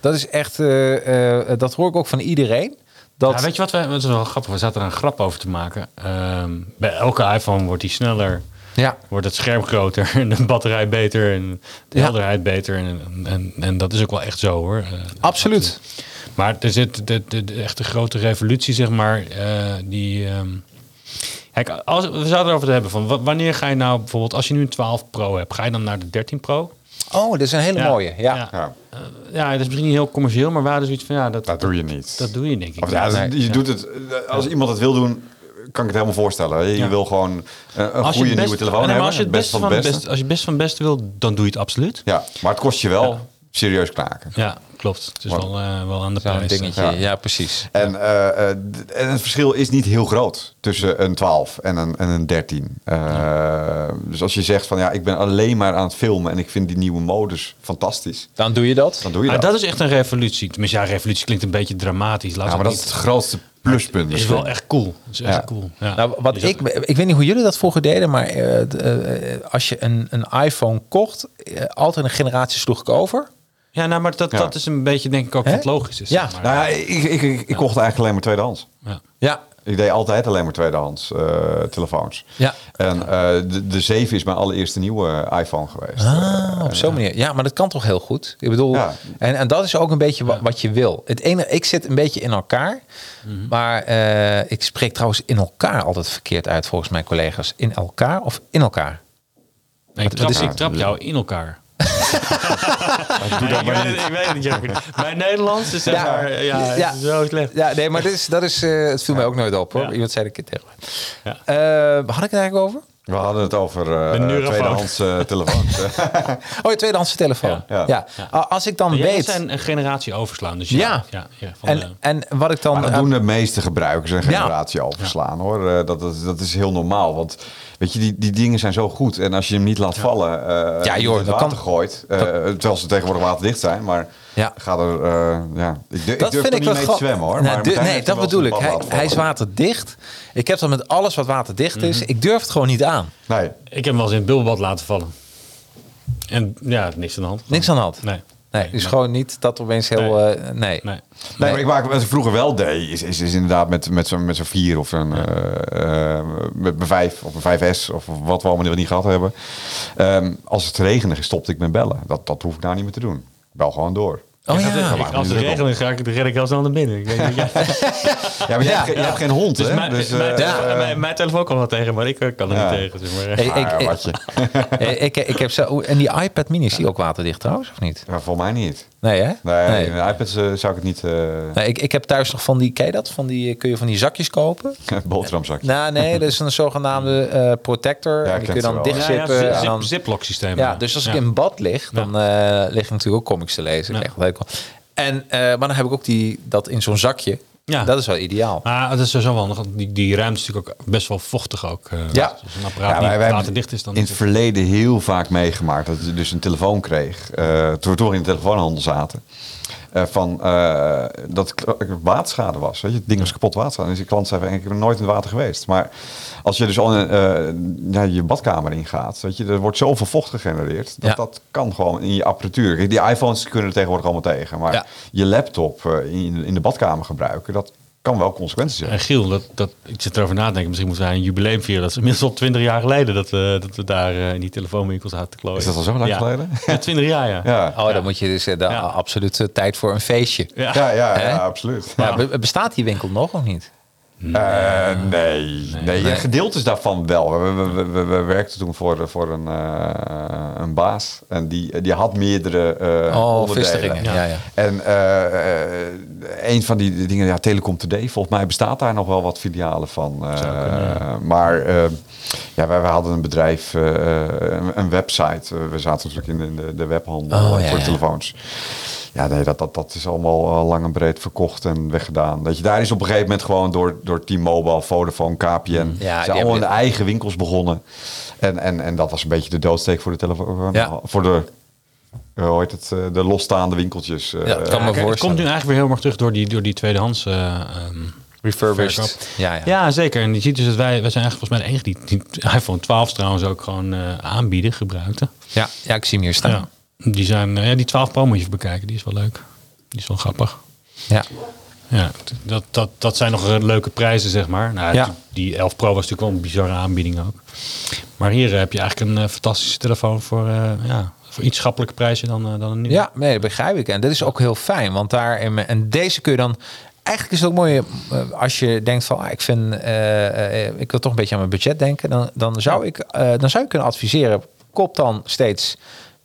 Dat is echt, eh, eh, dat hoor ik ook van iedereen. Dat, Ja, weet je wat? We, dat is wel grappig. We zaten er een grap over te maken. Ehm, bij elke iPhone wordt die sneller. ja, Wordt het scherm groter en de batterij beter en de Ja. helderheid beter. En, en, en dat is ook wel echt zo hoor. Eh, absoluut. Maar er zit de, de, de echte grote revolutie, zeg maar, eh, die ehm, Kijk, als, we zouden erover te hebben van wa- wanneer ga je nou bijvoorbeeld, als je nu een 12 Pro hebt, ga je dan naar de 13 Pro? Oh, dat is een hele mooie. Ja. ja. Ja, Eh, ja, dat is misschien niet heel commercieel, maar we hadden zoiets van ja, dat, dat doe je niet. dat doe je denk ik. Of ja, niet. dat- je doet het, eh, als iemand het wil doen, kan ik het helemaal voorstellen. Je Ja. wil gewoon eh, een Als je goede het nieuwe best- telefoon nee, maar hebben. Als je het beste van het beste, als je het beste van het beste wil, dan doe je het absoluut. Ja, Ja, maar het kost je wel serieus knaken. klopt. Het is Wow. wel, eh, wel aan de Zo'n prijs. dingetje. Ja. Ja. precies. En, eh, eh, d- en het verschil is niet heel groot tussen een 12 en een, en een 13. Eh, Dus als je zegt van ja, ik ben alleen maar aan het filmen en ik vind die nieuwe modus fantastisch, Dan doe je dat. dan doe je Maar dat. dat is echt een revolutie. Tenminste, ja, revolutie klinkt een beetje dramatisch. Laat ja, maar dat is het grootste pluspunt. is misschien. wel echt cool. Dat is echt Ja. cool. Ja. Nou, wat Dus dat- ik, ik weet niet hoe jullie dat vroeger deden, maar eh, d- eh, als je een, een iPhone kocht, eh, altijd een generatie sloeg ik over. Ja, nou, maar dat, Ja. dat is een beetje denk ik ook Hè? wat logisch is. Ja. zeg maar. Nou ja, ik, ik, ik, ik kocht eigenlijk alleen maar tweedehands. Ja. Ja, Ik deed altijd alleen maar tweedehands eh, telefoons. Ja. En eh, de, de 7 is mijn allereerste nieuwe iPhone geweest. Ah, op zo'n manier. Ja, maar dat kan toch heel goed. Ik bedoel, Ja. en, en dat is ook een beetje wa- wat je wil. Het ene, ik zit een beetje in elkaar, maar eh, ik spreek trouwens in elkaar altijd verkeerd uit volgens mijn collega's. In elkaar of in elkaar? Nee, ik, trap, is- ik trap jou in elkaar. ik, weet het, ik weet het, Jeffrey. Bij Nederlands is zeg maar, ja, het is zo slecht. Ja, nee, maar dit is, dat is, eh, het viel mij ook nooit op hoor. Ja. Iemand zei dat ik het tegen me. Ja. Eh, waar had ik het eigenlijk over? We hadden het over De eh, neurafoon. tweedehands eh, telefoons. Oh, je tweedehandse telefoon. Ja. Ja. A- Als ik dan Jij weet... zijn een generatie overslaan. Dus Ja. ja. ja, ja, van eh, de- En, en wat ik dan... Maar dat aan- doen de meeste gebruikers een generatie overslaan hoor. Eh, Dat, dat, dat is heel normaal. Want weet je, die, die dingen zijn zo goed. En als je hem niet laat vallen, eh Ja, en joh, in het dat water kan- gooit. eh, terwijl ze tegenwoordig waterdicht zijn. Maar Ja. gaat er. eh, ja. Ik, durf- ik Dat durf vind ik er niet wel mee te grap- zwemmen hoor. Nou, maar du- Martijn nee, heeft hem dat wel bedoel eens ik. een bal Hij, laten hij is vallen. waterdicht. Ik heb dat met alles wat waterdicht is. Mhm. Ik durf het gewoon niet aan. Nee. Ik heb hem wel eens in het bubbelbad laten vallen. En ja, niks aan de hand. Niks aan de hand. Nee. Nee, dus gewoon niet dat opeens heel... eh, Nee. Nee. Nee, maar ik maak wat ik vroeger wel deed, is, is, is inderdaad met, met zo'n met zo'n 4 of een, eh, eh, met mijn 5 of een 5S of wat we allemaal niet gehad hebben. Ehm, als het regende, stopte ik met bellen. Dat, dat hoef ik nou niet meer te doen. Bel gewoon door. Oh Ik- ja. ik- als het regent, ga ik het red ik heel snel naar binnen. Ik weet niet, ja. Ja, maar je, Ja. hebt, ge- je hebt geen hond, Dus hè? mijn, dus, mijn, eh, mijn- mijn- mijn telefoon kan wel tegen, maar ik eh, kan er Ja. niet tegen. Zeg maar. Hey, ik, ah, ik, wat je- hey, ik, ik heb zo, oeh, en die iPad mini is die ook waterdicht trouwens, of niet? Ja, voor mij niet. Nee, hè? Nee, nee. een iPad eh, zou ik het niet... eh Nee, ik, ik heb thuis nog van die, ken je dat? Van die, eh, kun je van die zakjes kopen? boterhamzakje. Nou, nee, dat is een zogenaamde eh, protector. Ja, en ik die ken kun je dan ze wel. Ja, dichtzippen. ja, en zip- dan, ziplock systeem. eh, Ja, dus als ik Ja. in bad lig, dan eh, lig ik natuurlijk ook comics te lezen. Ik Ja. krijg dat ook wel. En, eh, maar dan heb ik ook die, dat in zo'n zakje. Ja. Ah. Dat is wel ideaal. Maar dat is sowieso wel handig. want Die, die ruimte is natuurlijk ook best wel vochtig ook. eh, Ja. Als een Ja, apparaat wij- wij niet hebben waterdicht is, dan... in het verleden heel vaak meegemaakt dat je dus een telefoon kreeg, eh, toen we toch in de telefoonhandel zaten, eh, van eh, dat k- waterschade was. Weet je, het ding was kapot waterschade. Dus die klant zei van, ik ben nooit in het water geweest. Maar als je dus al in, eh, ja, je badkamer ingaat, weet je, er wordt zoveel vocht gegenereerd, dat Ja. dat kan gewoon in je apparatuur. Kijk, die iPhones kunnen er tegenwoordig allemaal tegen, maar Ja. je laptop eh, in, in de badkamer gebruiken, dat kan wel consequenties hebben. En Giel, dat, dat, ik zit erover na te denken. Misschien moeten wij een jubileum vieren. Dat is inmiddels al twintig jaar geleden dat, we dat we daar eh, in die telefoonwinkels zaten te klooien. Is dat al zo lang Ja. geleden? Ja, twintig jaar, ja. Ja, Oh, dan moet je dus eh, de Ja. absolute tijd voor een feestje. Ja. ja, ja, Hè? ja absoluut. Maar be- bestaat die winkel nog of niet? Eh, nee, nee. Ja, gedeeltes daarvan wel. We, we, we, we- we werkten toen voor, voor een, eh, een baas. En die, die had meerdere eh oh, onderdelen. vestigingen. Ja. Ja, ja. En eh, eh, een van die dingen, ja, Telecom Today, volgens mij bestaat daar nog wel wat filialen van. Eh, Maar eh, ja, wij, wij hadden een bedrijf, eh, een, een website. Eh, we zaten natuurlijk in de, in de, de webhandel Oh, eh, ja, voor ja. telefoons. Ja, nee, dat, dat, dat is allemaal al lang en breed verkocht en weggedaan. Dat je, daar is op een gegeven moment gewoon door, door T-Mobile, Vodafone, KPN... Mm. die zijn hebben allemaal hun dit- eigen winkels begonnen. En, en, en dat was een beetje de doodsteek voor de telefoon. Ja. Voor de, eh, hoe heet het, eh, de losstaande winkeltjes. eh, dat kan me Kijk, het komt voorstellen. nu eigenlijk weer heel erg terug door die, door die tweedehands eh, ehm, verkoop. Refurbished. Ja, ja. Ja. zeker. En je ziet dus dat wij, wij zijn eigenlijk volgens mij de enige die, die iPhone 12 trouwens ook gewoon eh, aanbieden, gebruikten. Ja, ja, ik zie hem hier staan. Ja. Die, zijn, eh, ja, die 12 Pro moet je even bekijken, die is wel leuk. Die is wel grappig. Ja. Ja, t- dat, dat, dat zijn nog eh, leuke prijzen, zeg maar. Nou, Ja. die, die 11 Pro was natuurlijk wel een bizarre aanbieding ook. Maar hier eh, heb je eigenlijk een eh, fantastische telefoon voor, eh, ja, voor iets schappelijke prijzen dan, eh, dan een nieuwe. Ja, nee, dat begrijp ik. En dat is ook heel fijn, want daar in mijn- en deze kun je dan eigenlijk is het ook mooi eh, als je denkt van, ah, ik vind, eh, eh, ik wil toch een beetje aan mijn budget denken. Dan, dan zou ik, eh, dan zou ik kunnen adviseren, koop dan steeds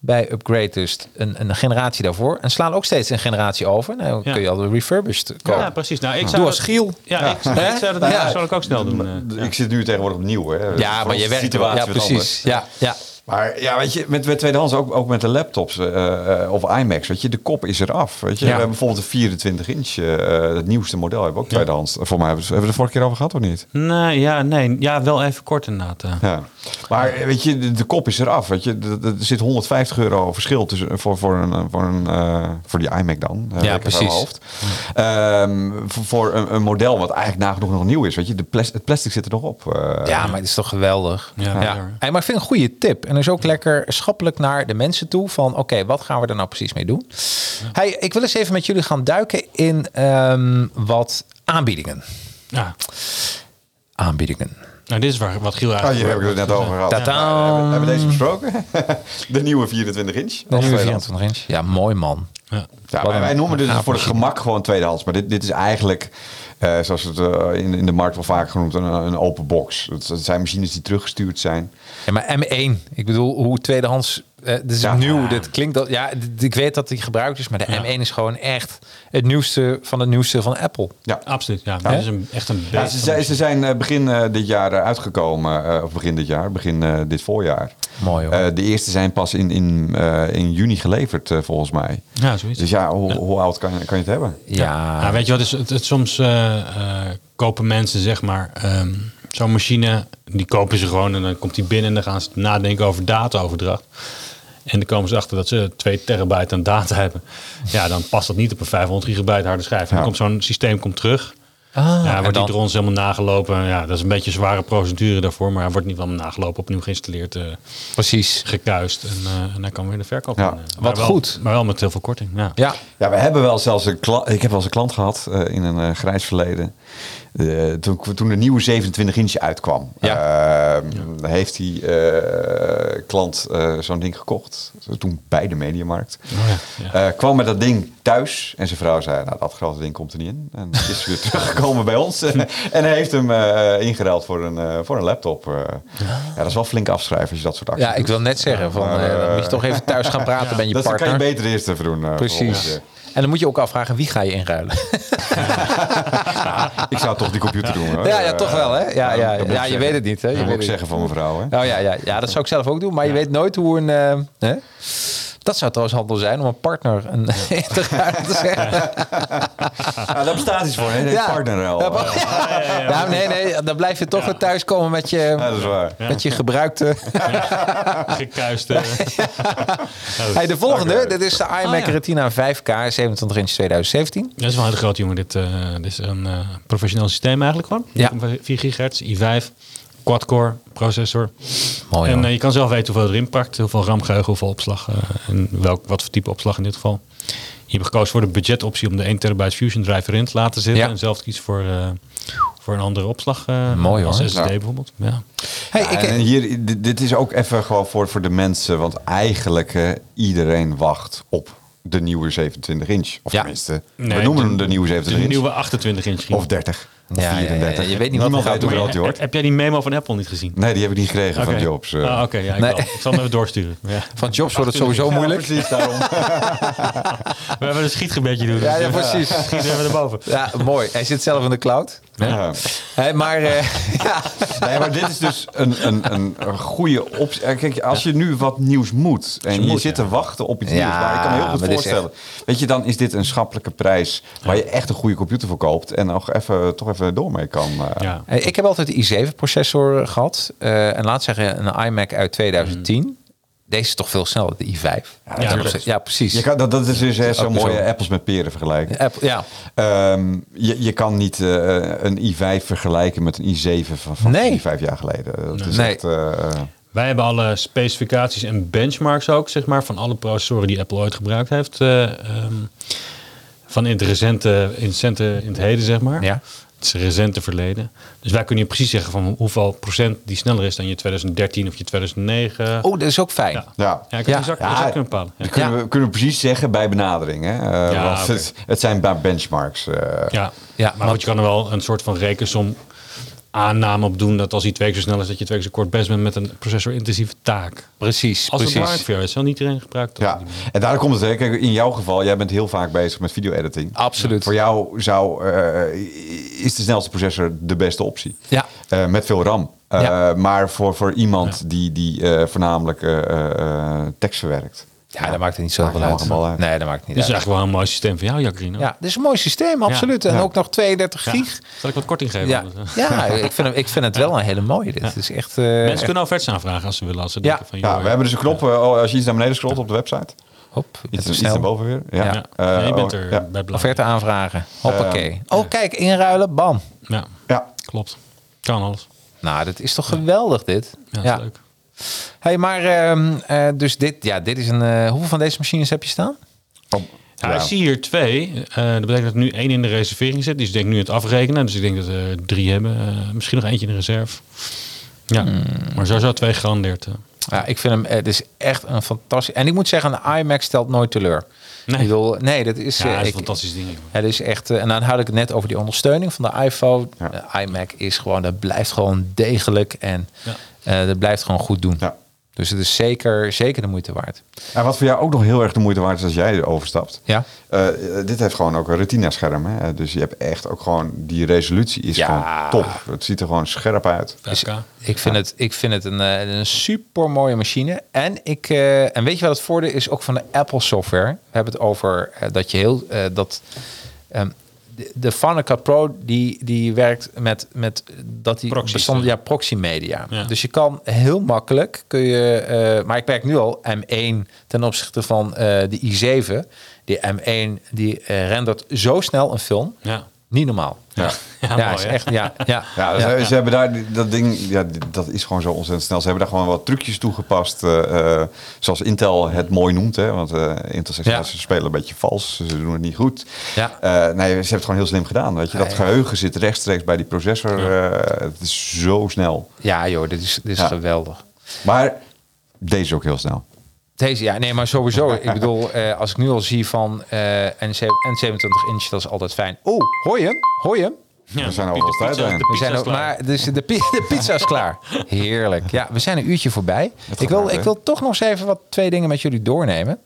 bij Upgrade dus een, een generatie daarvoor en slaan ook steeds een generatie over. Nou, dan Ja. kun je al de refurbished kopen. Ja, precies. Nou, ik zou Doe dat- als Giel. Ja, ik, zou- Hè? ik zou dat Ja. dat zou ik ook snel doen. eh. Ik zit nu tegenwoordig opnieuw. Hè. Ja, maar Voor je onze werkt situatie Ja, wat anders. precies. Ja, ja. Maar ja, weet je, met, met tweedehands, ook, ook met de laptops eh, eh, of iMacs, weet je, de kop is eraf. Weet je, Ja. we hebben bijvoorbeeld een 24 inch, eh, het nieuwste model hebben we ook tweedehands. Voor mij hebben we hebben we het de vorige keer over gehad of niet? Nee, ja, nee, ja, wel even kort inderdaad. eh. Ja. Maar eh, weet je, de, de kop is eraf. Weet je, er, er zit 150 euro verschil tussen, voor, voor, een, eh, voor, een, eh, voor die iMac dan. eh, lekker uit precies. mijn Hoofd. Ehm, voor voor een, een model wat eigenlijk nagenoeg nog nieuw is. Weet je, de plas- het plastic zit er nog op. eh. Ja, maar het is toch geweldig. Ja, Ja, ja, hoor. Hey, maar ik vind het een goede tip. En dus ook lekker schappelijk naar de mensen toe. Van oké, wat gaan we er nou precies mee doen? Hey, ik wil eens even met jullie gaan duiken in ehm, wat aanbiedingen. Ja. Aanbiedingen. Nou, dit is waar, wat Giel Oh, hier eigenlijk... heb ik het net over gehad. Tadaa. Nou, hebben, we- hebben we deze besproken? de nieuwe 24 inch. De Of nieuwe tweedehands? 24 inch. Ja, mooi man. Ja. Ja, Wat wij, een- wij noemen dit dus een gaaf voor het machine. gemak gewoon tweedehands. Maar dit, dit is eigenlijk, eh, zoals het eh, in, in de markt wel vaak genoemd, een, een open box. Het, het zijn machines die teruggestuurd zijn. Ja, maar M1. Ik bedoel, hoe tweedehands... eh, dit is Ja. nieuw. Dit klinkt... al- Ja, d- ik weet dat die gebruikt is. Maar de M1 is gewoon echt het nieuwste van het nieuwste van Apple. Ja. Absoluut, ja. Dat is een, echt een Ja, beest. ze, zijn- ze zijn eh, begin eh, dit jaar eh, uitgekomen, eh, of begin dit jaar, begin eh, dit voorjaar. Mooi, hoor. Eh, de eerste zijn pas in, in, eh, in juni geleverd, eh, volgens mij. Ja, zoiets. Dus ja, hoe, hoe oud kan, kan je het hebben? Ja. Ja, weet je wat, is, het, het- soms eh, eh, kopen mensen, zeg maar, ehm, zo'n machine, die kopen ze gewoon en dan komt die binnen en dan gaan ze nadenken over dataoverdracht. En dan komen ze achter dat ze 2 terabyte aan data hebben. Ja, dan past dat niet op een 500 gigabyte harde schijf. Dan Ja. komt zo'n systeem komt terug. Ah, ja, en wordt dan- die ons helemaal nagelopen. Ja, dat is een beetje een zware procedure daarvoor, maar hij wordt niet wel nagelopen, opnieuw geïnstalleerd, eh, Precies. gekuist en, eh, en dan kan weer de verkoop. Ja. in, eh. Wat Maar wel- goed. Maar wel met heel veel korting. Ja. Ja. Ja, we hebben wel zelfs een klant. Ik heb wel eens een klant gehad eh, in een eh, grijs verleden. Eh, toen, toen de nieuwe 27 inch uitkwam, Ja. eh, heeft die eh, klant eh, zo'n ding gekocht. Toen bij de Mediamarkt. ja, ja. Eh, kwam met dat ding thuis en zijn vrouw zei: Nou, dat grote ding komt er niet in. En is weer teruggekomen bij ons. en hij heeft hem eh ingeruild voor een, eh, voor een laptop. eh. ja. dat is wel flink afschrijven als je dat soort acties Ja, ik wil net zeggen, van, eh, maar, dan eh, moet je toch even thuis gaan praten met je dat partner. kan je beter eerst even doen. eh, voor Precies. ons, eh. En dan moet je ook afvragen, wie ga je Oh, inruilen? Ik zou toch die computer doen. Hoor. ja, ja, Eh, toch wel, hè? Ja, ja, dat moet ja ik je weet het niet, hè? Dat Je moet weet ik het zeggen van mevrouw. Hè? niet. Oh ja, ja, ja, dat zou ik zelf ook doen, maar je weet nooit hoe een... eh, hè? Dat zou trouwens handel zijn om een partner een in te ruilen te zeggen. Ah, daar bestaat iets voor, hè? De partnerruil. Ja, Ja, maar- Ja, nee, nee, dan blijf je toch weer thuiskomen met je, dat is waar. met je gebruikte... Ah. Gekuist. eh. Hey, de volgende, dit is de iMac Oh, ja. Retina 5K 27 inch 2017. Dat is wel een hele groot jongen. Dit, eh, dit is een eh, professioneel systeem eigenlijk Ja. gewoon. 4 gigahertz, i5, quad-core processor. Mooi, en hoor. eh, je kan zelf weten hoeveel erin pakt. Hoeveel RAM geheugen, hoeveel opslag. eh, en welk, wat voor type opslag in dit geval. Je hebt gekozen voor de budgetoptie om de 1 terabyte Fusion Drive erin te laten zitten. Ja. En zelf kiezen voor, eh, voor een andere opslag. eh, Mooi, als hoor. SSD Ja. bijvoorbeeld. Ja. Hey, Ja, en ik, hier, dit, dit is ook even gewoon voor, voor de mensen, want eigenlijk eh, iedereen wacht op de nieuwe 27 inch. Of Ja. tenminste, we Nee, noemen de- hem de nieuwe De 27 inch. Dus nieuwe 28 inch. Of 30. Of Ja, ja, ja, 34. ja, je weet niet wat Niemand er gaat weet hoe Maar groot die heb, wordt. heb jij die memo van Apple niet gezien? Nee, die heb ik niet gekregen Oké. van Jobs. eh. Ah, Oké, ja, ik, Nee. wel. ik zal hem even doorsturen. Ja. van Jobs wordt het sowieso Ja, moeilijk. precies, daarom. We hebben een schietgebedje Ja, doen. dus, ja, eh, precies. Schieten we erboven. Ja, mooi. Hij zit zelf in de cloud. Ja. Hé, maar eh, ja. Nee, maar dit is dus een, een, een, een goede optie. Eh, Kijk, als je nu wat nieuws moet en je moet, zit ja. te wachten op iets Ja, nieuws, waar ik kan me heel maar goed dit is voorstellen. Weet je, dan is dit een schappelijke prijs waar je echt een goede computer voor koopt en nog even, toch even door mee kan. eh. Ja. Eh, ik heb altijd de i7-processor gehad. Eh, en laat zeggen, een iMac uit 2010. Deze is toch veel sneller, de i5. Ja, klopt. ja precies. Je kan, dat, dat is dus hè, zo'n Ook zo. mooie appels met peren vergelijken. Apple, ja. Ehm, je, je kan niet eh, een i5 vergelijken met een i7 van, van Nee. vier, vijf jaar geleden. Dat is Nee. echt, eh, Wij hebben alle specificaties en benchmarks ook, zeg maar, van alle processoren die Apple ooit gebruikt heeft. eh, ehm, van in het recente, in het, recente, in het heden, zeg maar. Ja. Het is recente verleden. Dus wij kunnen je precies zeggen van hoeveel procent die sneller is dan je 2013 of je 2009. Oh, dat is ook fijn. Ja. Ja. Ja, ik kan Ja. het exact, Ja, exact kunnen bepalen. Ja. Dat kunnen, we, kunnen we precies zeggen bij benadering. Hè? Eh, Ja, want oké. het, het zijn maar benchmarks. eh. Ja. Ja, maar want- goed, je kan er wel een soort van rekensom aanname op doen dat als hij twee keer zo snel is, dat je twee keer zo kort best bent met een processor-intensieve taak. Precies, Als het belangrijk precies. voor jou is, wel niet iedereen gebruikt. dat op Ja, die en daar komt het. Hè. Kijk, in jouw geval, jij bent heel vaak bezig met video-editing. Absoluut. Voor jou zou, eh, is de snelste processor de beste optie. Ja. Eh, met veel RAM. Eh, Ja. Maar voor, voor iemand die, die eh, voornamelijk eh, eh, tekst verwerkt. Ja, dat maakt het niet zoveel Maakt uit. helemaal uit. Dus Nee, dat maakt niet Dit is uit. eigenlijk wel een mooi systeem van jou, Jacarino. Ja, dit is een mooi systeem, absoluut. En Ja. ook nog 32 gig. Zal ik wat korting geven? Ja, Mensen ja ik, vind, hem- ik vind het wel een hele mooie. Dit Het is echt... eh, kunnen offertes aanvragen als ze willen. Als ze Ja. denken van, Ja, joh, we hebben dus een knop. eh, als je iets naar beneden scrolt op de website. hop, Iets, even iets snel. naar boven weer. Ja. Ja. Ja. Eh, Nee, je bent oh, er ja. bij belang. Offerte aanvragen. Hoppakee. Ehm, oh, kijk, inruilen. Bam. Ja, Ja. klopt. Kan alles. Nou, dat is toch geweldig dit. Ja, dat is leuk. Hey, maar ehm, eh, dus dit, ja, dit is een. eh, hoeveel van deze machines heb je staan? Oh, Ja, ja. Ik zie hier twee. Eh, dat betekent dat er nu één in de reservering zit. Die is denk ik nu aan het afrekenen. Dus ik denk dat we drie hebben. Eh, misschien nog eentje in de reserve. Ja, Hmm. maar sowieso twee gegarandeerd. eh. Ja, ik vind hem. eh, Het is echt een fantastisch. En ik moet zeggen, de iMac stelt nooit teleur. Nee. Ik bedoel, nee, dat is. Ja, eh, dat is een ik- fantastisch ding. joh. Het is echt, eh, en dan had ik het net over die ondersteuning van de iPhone. Ja. De iMac is gewoon, dat blijft gewoon degelijk en Ja. eh, dat blijft gewoon goed doen. Ja. Dus het is zeker, zeker de moeite waard. En wat voor jou ook nog heel erg de moeite waard is als jij overstapt. Ja. Eh, eh, dit heeft gewoon ook een retina-scherm. Hè? Eh, Dus je hebt echt ook gewoon... Die resolutie is Ja. gewoon top. Het ziet er gewoon scherp uit. 5K. Ik vind, het, ik vind het een, eh, een super mooie machine. En, ik, eh, en weet je wat het voordeel is ook van de Apple software? We hebben het over eh, dat je heel eh, dat. ehm, de, de Final Cut Pro die, die werkt met, met dat die Proxies, bestond, hè? ja, proxy media. Ja. Dus je kan heel makkelijk kun je, eh, maar ik werk nu al M1 ten opzichte van eh, de i7. Die M1 die eh, rendert zo snel een film, Ja. niet normaal. Ja. Ja, mooi, is hè? echt. Ja, ja, Ja, ze, ze hebben daar die- dat ding, ja, die- dat is gewoon zo ontzettend snel. Ze hebben daar gewoon wat trucjes toegepast, eh, eh, zoals Intel het mooi noemt, hè, want eh Intel zegt Ja. ja, ze spelen een beetje vals, ze doen het niet goed. Ja. Eh, nee, ze hebben het gewoon heel slim gedaan. Weet je, dat geheugen zit rechtstreeks bij die processor. eh, het is zo snel. ja joh, dit is, dit is Ja. geweldig. Maar deze is ook heel snel. Deze, ja, nee, maar sowieso. ik bedoel, eh, als ik nu al zie van eh, en ze- en 27 inch, dat is altijd fijn. Oh, hoor je hem? Hoor je hem? Ja, We zijn al Pieter, op tijd, pizza- de hè? We pizza zijn is ook, klaar. maar dus de, pi- de pizza is klaar. Heerlijk. Ja, we zijn een uurtje voorbij. Ik wil, hard, hè? ik wil toch nog eens even wat twee dingen met jullie doornemen.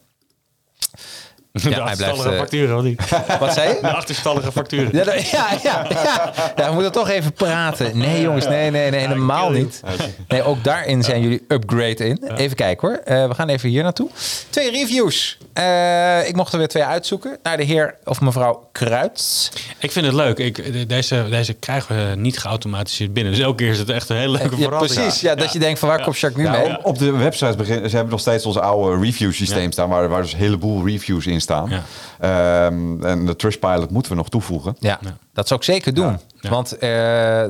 De hij blijft, achterstallige eh, facturen, of niet? Wat zei je? De achterstallige facturen. Ja, dat- ja, ja, ja. Ja, we moeten toch even praten. Nee, jongens, nee, nee, nee, helemaal niet. Nee, ook daarin zijn jullie upgrade in. Even kijken hoor. Eh, we gaan even hier naartoe. Twee reviews. Eh, ik mocht er weer twee uitzoeken. Naar de heer of mevrouw Kruids. Ik vind het leuk. Ik, de- deze, deze krijgen we niet geautomatiseerd binnen. Dus elke keer is het echt een hele leuke Ja, verrassing. precies. Ja, dat je denkt van waar komt Jacques nu Ja, mee? Nou, op, op de website beginnen. Ze hebben nog steeds ons oude review systeem Ja. staan, waar, waar dus een heleboel reviews in staan. Ja. Ehm, en de Trustpilot moeten we nog toevoegen. Ja, Ja. dat zou ik zeker doen. Ja. Want eh,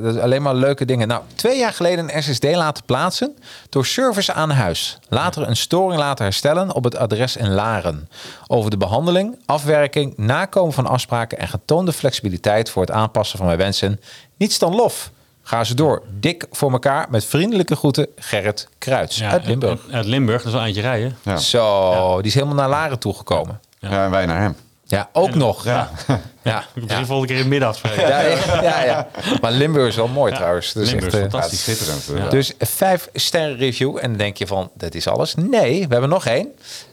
dat is alleen maar leuke dingen. Nou, twee jaar geleden een SSD laten plaatsen door service aan huis. Later een storing laten herstellen op het adres in Laren. Over de behandeling, afwerking, nakomen van afspraken en getoonde flexibiliteit voor het aanpassen van mijn wensen. Niets dan lof. Ga ze door. Dik voor elkaar met vriendelijke groeten Gerrit Kruids Ja, uit Limburg. Uit, uit Limburg, dat is wel eindje rijden. Ja. Zo, die is helemaal naar Laren toegekomen. Ja. en wij naar hem. Ja, ook nog. Ja. Ja. Ik begin volgende keer in midden afspreken. Ja, ja, ja, ja. Maar Limburg is wel mooi trouwens. Dus Limburg echt, is eh, Ja, het fantastisch. is schitterend. hè. Dus een vijf sterren review. En dan denk je van, dat is alles. Nee, we hebben nog één.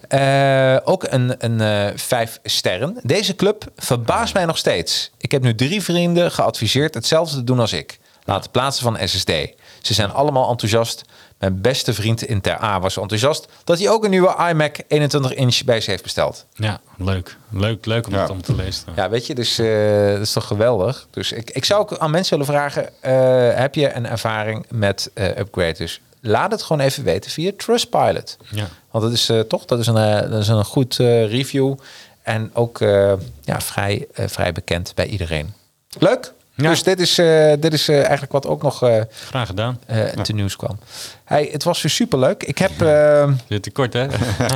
Eh, ook een, een eh, vijf sterren. Deze club verbaast mij nog steeds. Ik heb nu drie vrienden geadviseerd hetzelfde te doen als ik. Laten plaatsen van SSD. Ze zijn allemaal enthousiast. Mijn beste vriend in Ter A was enthousiast dat hij ook een nieuwe iMac 21 inch bij ze heeft besteld. Ja, leuk. Leuk, leuk om Ja. dat allemaal te lezen. Ja, weet je, dus eh, dat is toch geweldig. Dus ik, ik zou ook aan mensen willen vragen: eh, heb je een ervaring met eh upgraders? Laat het gewoon even weten via Trustpilot. Ja. Want dat is eh, toch, dat is een, eh, dat is een goed eh, review. En ook eh, ja, vrij, eh, vrij bekend bij iedereen. Leuk? Ja. Dus dit is, eh, dit is eh, eigenlijk wat ook nog eh Graag gedaan. eh te nieuws kwam. Hey, het was weer superleuk. Ik heb... eh, Zit te kort, hè?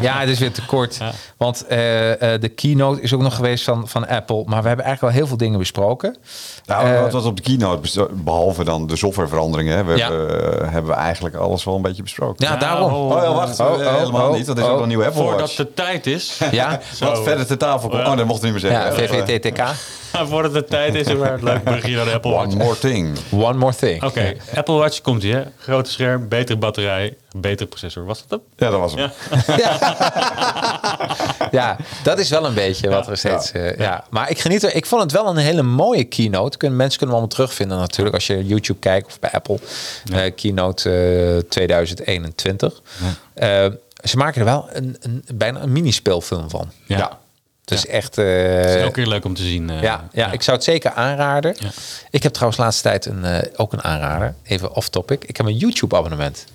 ja, het is weer te kort. Want eh, eh, de keynote is ook nog geweest van, van Apple. Maar we hebben eigenlijk al heel veel dingen besproken. Nou, Eh, wat was op de keynote, besto- behalve dan de softwareveranderingen, hè, we Ja. hebben, eh, hebben we eigenlijk alles wel een beetje besproken. Ja, daarom. Oh, ja, wacht, Oh, eh, oh, helemaal oh, niet, want er is oh. ook een nieuwe Apple Voordat Watch. de tijd is. Ja, Wat verder ter tafel komt. Ja. Oh, dat mocht ik niet meer ja zeggen. Eh, VVTTK. Voordat de tijd is, maar het leuk brugje naar de Apple Watch. One more thing. One more thing. Oké, Apple Watch komt hier. Grote scherm, betere batterij, betere processor. Was dat hem? Ja, dat was hem. Ja, dat is wel een beetje wat er steeds... eh, Ja. Maar ik geniet er... Ik vond het wel een hele mooie keynote. Kunnen, mensen kunnen hem allemaal terugvinden natuurlijk. Als je YouTube kijkt of bij Apple. Eh, keynote eh, 2021. Eh, ze maken er wel een, een, bijna een mini-speelfilm van. Ja. Het is echt... eh, Het is ook weer leuk om te zien. eh, ja, ja, ik zou het zeker aanraden. Ik heb trouwens laatste tijd een, eh, ook een aanrader. Even off topic. Ik heb een YouTube abonnement.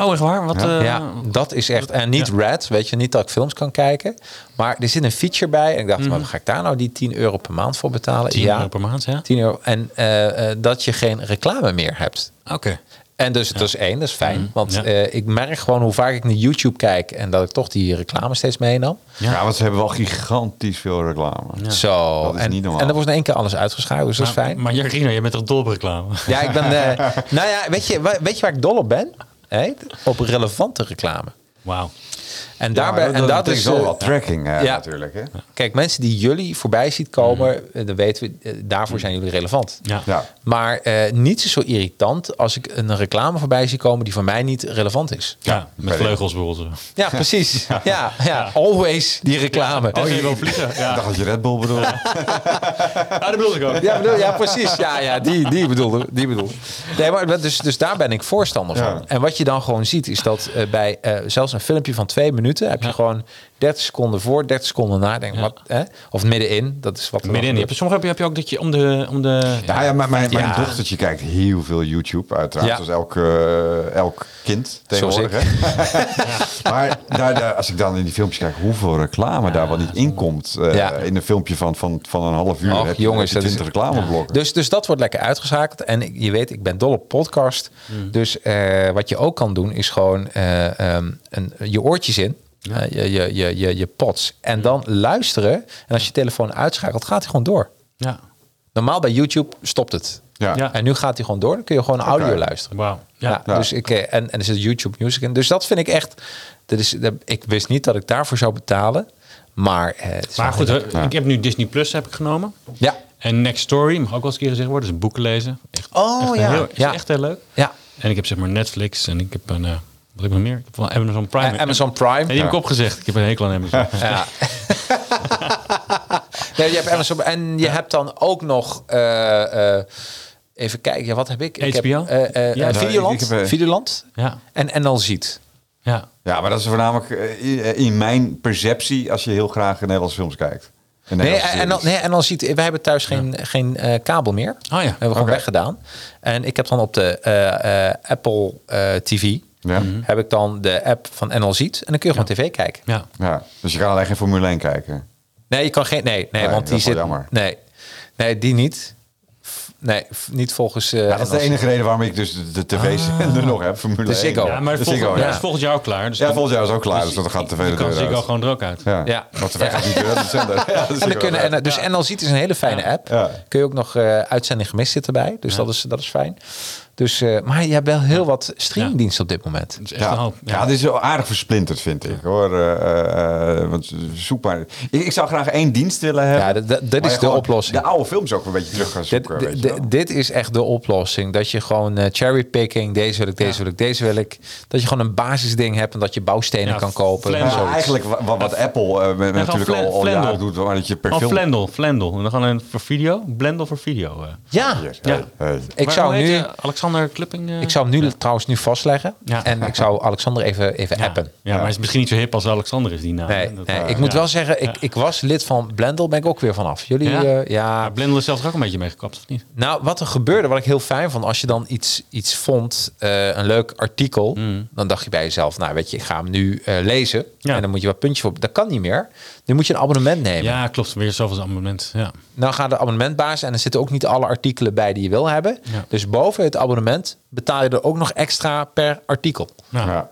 Oh, echt waar? Wat, eh, ja, dat is echt. En niet Red, weet je, niet dat ik films kan kijken. Maar er zit een feature bij. En ik dacht, maar ga ik daar nou die 10 euro per maand voor betalen? 10 ja, Mhm. euro per maand, ja. 10 euro. En eh, eh, dat je geen reclame meer hebt. Oké. En dus dat is één, dat is fijn. Want Mhm. ja. eh, ik merk gewoon hoe vaak ik naar YouTube kijk en dat ik toch die reclame steeds meenam. Ja. want ze hebben wel gigantisch veel reclame. Zo. Dat is en, niet normaal. en dan wordt in één keer alles uitgeschakeld, dus dat is fijn. Nou, Maar Jarino, je bent toch dol op reclame? Ja, ik ben. eh, nou ja, weet je, wa- weet je waar ik dol op ben? Hé? Op relevante reclame. Wauw. En daarbij. Ja, en dat betekent is wel eh, wat tracking eh, ja. natuurlijk. Hè? Kijk, mensen die jullie voorbij ziet komen, eh, dan weten we, eh, daarvoor zijn jullie relevant. Ja. Ja. Maar eh, niet zo irritant als ik een reclame voorbij zie komen die voor mij niet relevant is. Ja, met vleugels bijvoorbeeld. Ja, precies. Ja, ja, always die reclame. Oh, je wil vliegen? Ik dacht Ja, dat je Red Bull bedoelde. ah, dat bedoel ik ook. Ja, bedoel, ja, precies. Ja, ja die, die bedoelde. Die bedoelde. Nee, maar dat- dus, dus daar ben ik voorstander van. Ja. En wat je dan gewoon ziet, is dat eh, bij eh, zelfs een filmpje van twee minuten heb je gewoon 30 seconden voor, 30 seconden na. Denk, wat, hè? Of middenin, dat is wat er dan Middenin. Je gebeurt. hebt, soms heb je, heb je ook dat je om de... Om de Ja, ja, maar mijn, mijn Ja. dochtertje kijkt heel veel YouTube, uiteraard. Ja. Zoals elk, eh, elk kind tegenwoordig. hè. maar daar, daar, als ik dan in die filmpjes kijk hoeveel reclame daar wel niet in komt. eh, Ja. In een filmpje van, van, van een half uur Och, heb je, jongens, heb je dat is- 20 reclameblokken. Dus, dus dat wordt lekker uitgeschakeld. En ik- je weet, ik ben dol op podcast. Dus eh, wat je ook kan doen, is gewoon eh, ehm, een, je oortjes in. eh, je, je, je, je, je pods. En dan luisteren. En als je telefoon uitschakelt, gaat hij gewoon door. ja. Normaal bij YouTube stopt het. Ja. Ja. En nu gaat hij gewoon door. Dan kun je gewoon audio luisteren. Wauw. Ja. Ja, Dus ik, eh, en, en er zit YouTube Music in. Dus dat vind ik echt... Dat is, dat- ik wist niet dat ik daarvoor zou betalen. Maar, eh, het is Maar wel goed, heel eh, ik heb nu Disney Plus heb ik genomen. leuk. Ja. En Next Story, mag ook wel eens een keer gezegd worden. Dus boeken lezen. Echt, Oh, echt ja. Heel, is Ja. echt heel leuk. Ja. En ik heb zeg maar Netflix en ik heb een... eh, wat heb ik nog meer? Ik heb wel Amazon Prime. Eh, Amazon Prime. Nee, die heb ik opgezegd. Ik heb een hekel aan Amazon. Ja. nee, je hebt Amazon en je hebt dan ook nog eh, eh, even kijken. Ja, wat heb ik? Ik heb HBO? eh, eh, Ja, eh, nou, Videoland. ik- ik heb, eh, Videoland. Ja. En en al ziet. Ja. Ja, maar dat is voornamelijk eh, in mijn perceptie als je heel graag Nederlandse films kijkt. En Nee, Nederlandse en, dan- series. nee, en dan ziet. We hebben thuis geen, geen eh, kabel meer. ja. We hebben we gewoon Oh, Oké. weggedaan. En ik heb dan op de eh, eh, Apple eh, TV Ja. heb ik dan de app van NL ziet en dan kun je gewoon tv kijken. Ja. Ja, dus je kan alleen geen Formule 1 kijken. Nee, je kan geen. Nee, nee, Nee, want Oh, dat die is wel zit. jammer. Nee, nee, die niet. F- Nee, f- niet volgens. eh, Ja, dat is de NL Ziet. enige reden waarom ik dus de, de tv-zender nog heb. Formule Ah. De 1. Ziggo. Ja, maar de volgend, Ziggo, ja, ja. is volgend jaar ook klaar. Dus Ja, dan- volgens jou is ook klaar, dus dan gaat dan de tv kan de deur Ziggo uit. gewoon er ook uit. Ja, Ja. want de weg gaat niet deur, de zender. Ja, dat is En, dan Ziggo. kunnen, en, dus NL Ziet is een hele fijne app. Ja. Kun je ook nog eh, uitzending gemist zitten bij. Dus dat, is, dat is fijn. Dus, eh, maar je hebt wel heel wat streamdiensten op dit moment. Dat is echt een Ja, hoop. ja, het is wel aardig versplinterd, vind ik hoor. Eh, eh, eh, want zoek maar. Ik, ik zou graag één dienst willen hebben. Ja, dat- dat- dat waar is je de gewoon oplossing. De oude films ook een beetje terug gaan Dit, zoeken. dit- weet je wel. dit is echt de oplossing. Dat je gewoon eh, cherrypicking, deze wil ik, deze wil ik, deze wil ik. Dat je gewoon een basisding hebt en dat je bouwstenen Ja, kan kopen. Flanders. en Maar zoiets. eigenlijk wa- wat, wat Apple eh, met- met gewoon natuurlijk al, Flan- al Flandel. jaren doet, maar dat je per Oh, film... Flendel, Flendel. En dan gaan we voor video. Blendel voor video. eh. Ja, Ja. Hey. ik Maar zou hoe heet nu... je? Alexander Klupping. eh? Ik zou hem nu trouwens nu vastleggen. Ja. En ik zou Alexander even, even ja. appen. Ja, maar hij is misschien niet zo hip als Alexander is die naam. Nee, hè. Dat- nee, ja. ik moet Ja. wel zeggen, ik, ik was lid van Blendel, ben ik ook weer vanaf. Jullie, Ja? eh, ja Ja, Blendel is zelfs er ook een beetje mee gekapt, of niet? Nou, wat er gebeurde, wat ik heel fijn vond, als je dan iets, iets vond, eh, een leuk artikel, dan dacht je bij jezelf, nou weet je, ik ga hem nu eh, lezen. Ja. En dan moet je wat puntje voor. Dat kan niet meer. Nu moet je een abonnement nemen. Ja, klopt. Weer zoveel als abonnement. Ja. Nou gaat de abonnementbaas en er zitten ook niet alle artikelen bij die je wil hebben. Ja. Dus boven het abonnement betaal je er ook nog extra per artikel. Nou, Ja,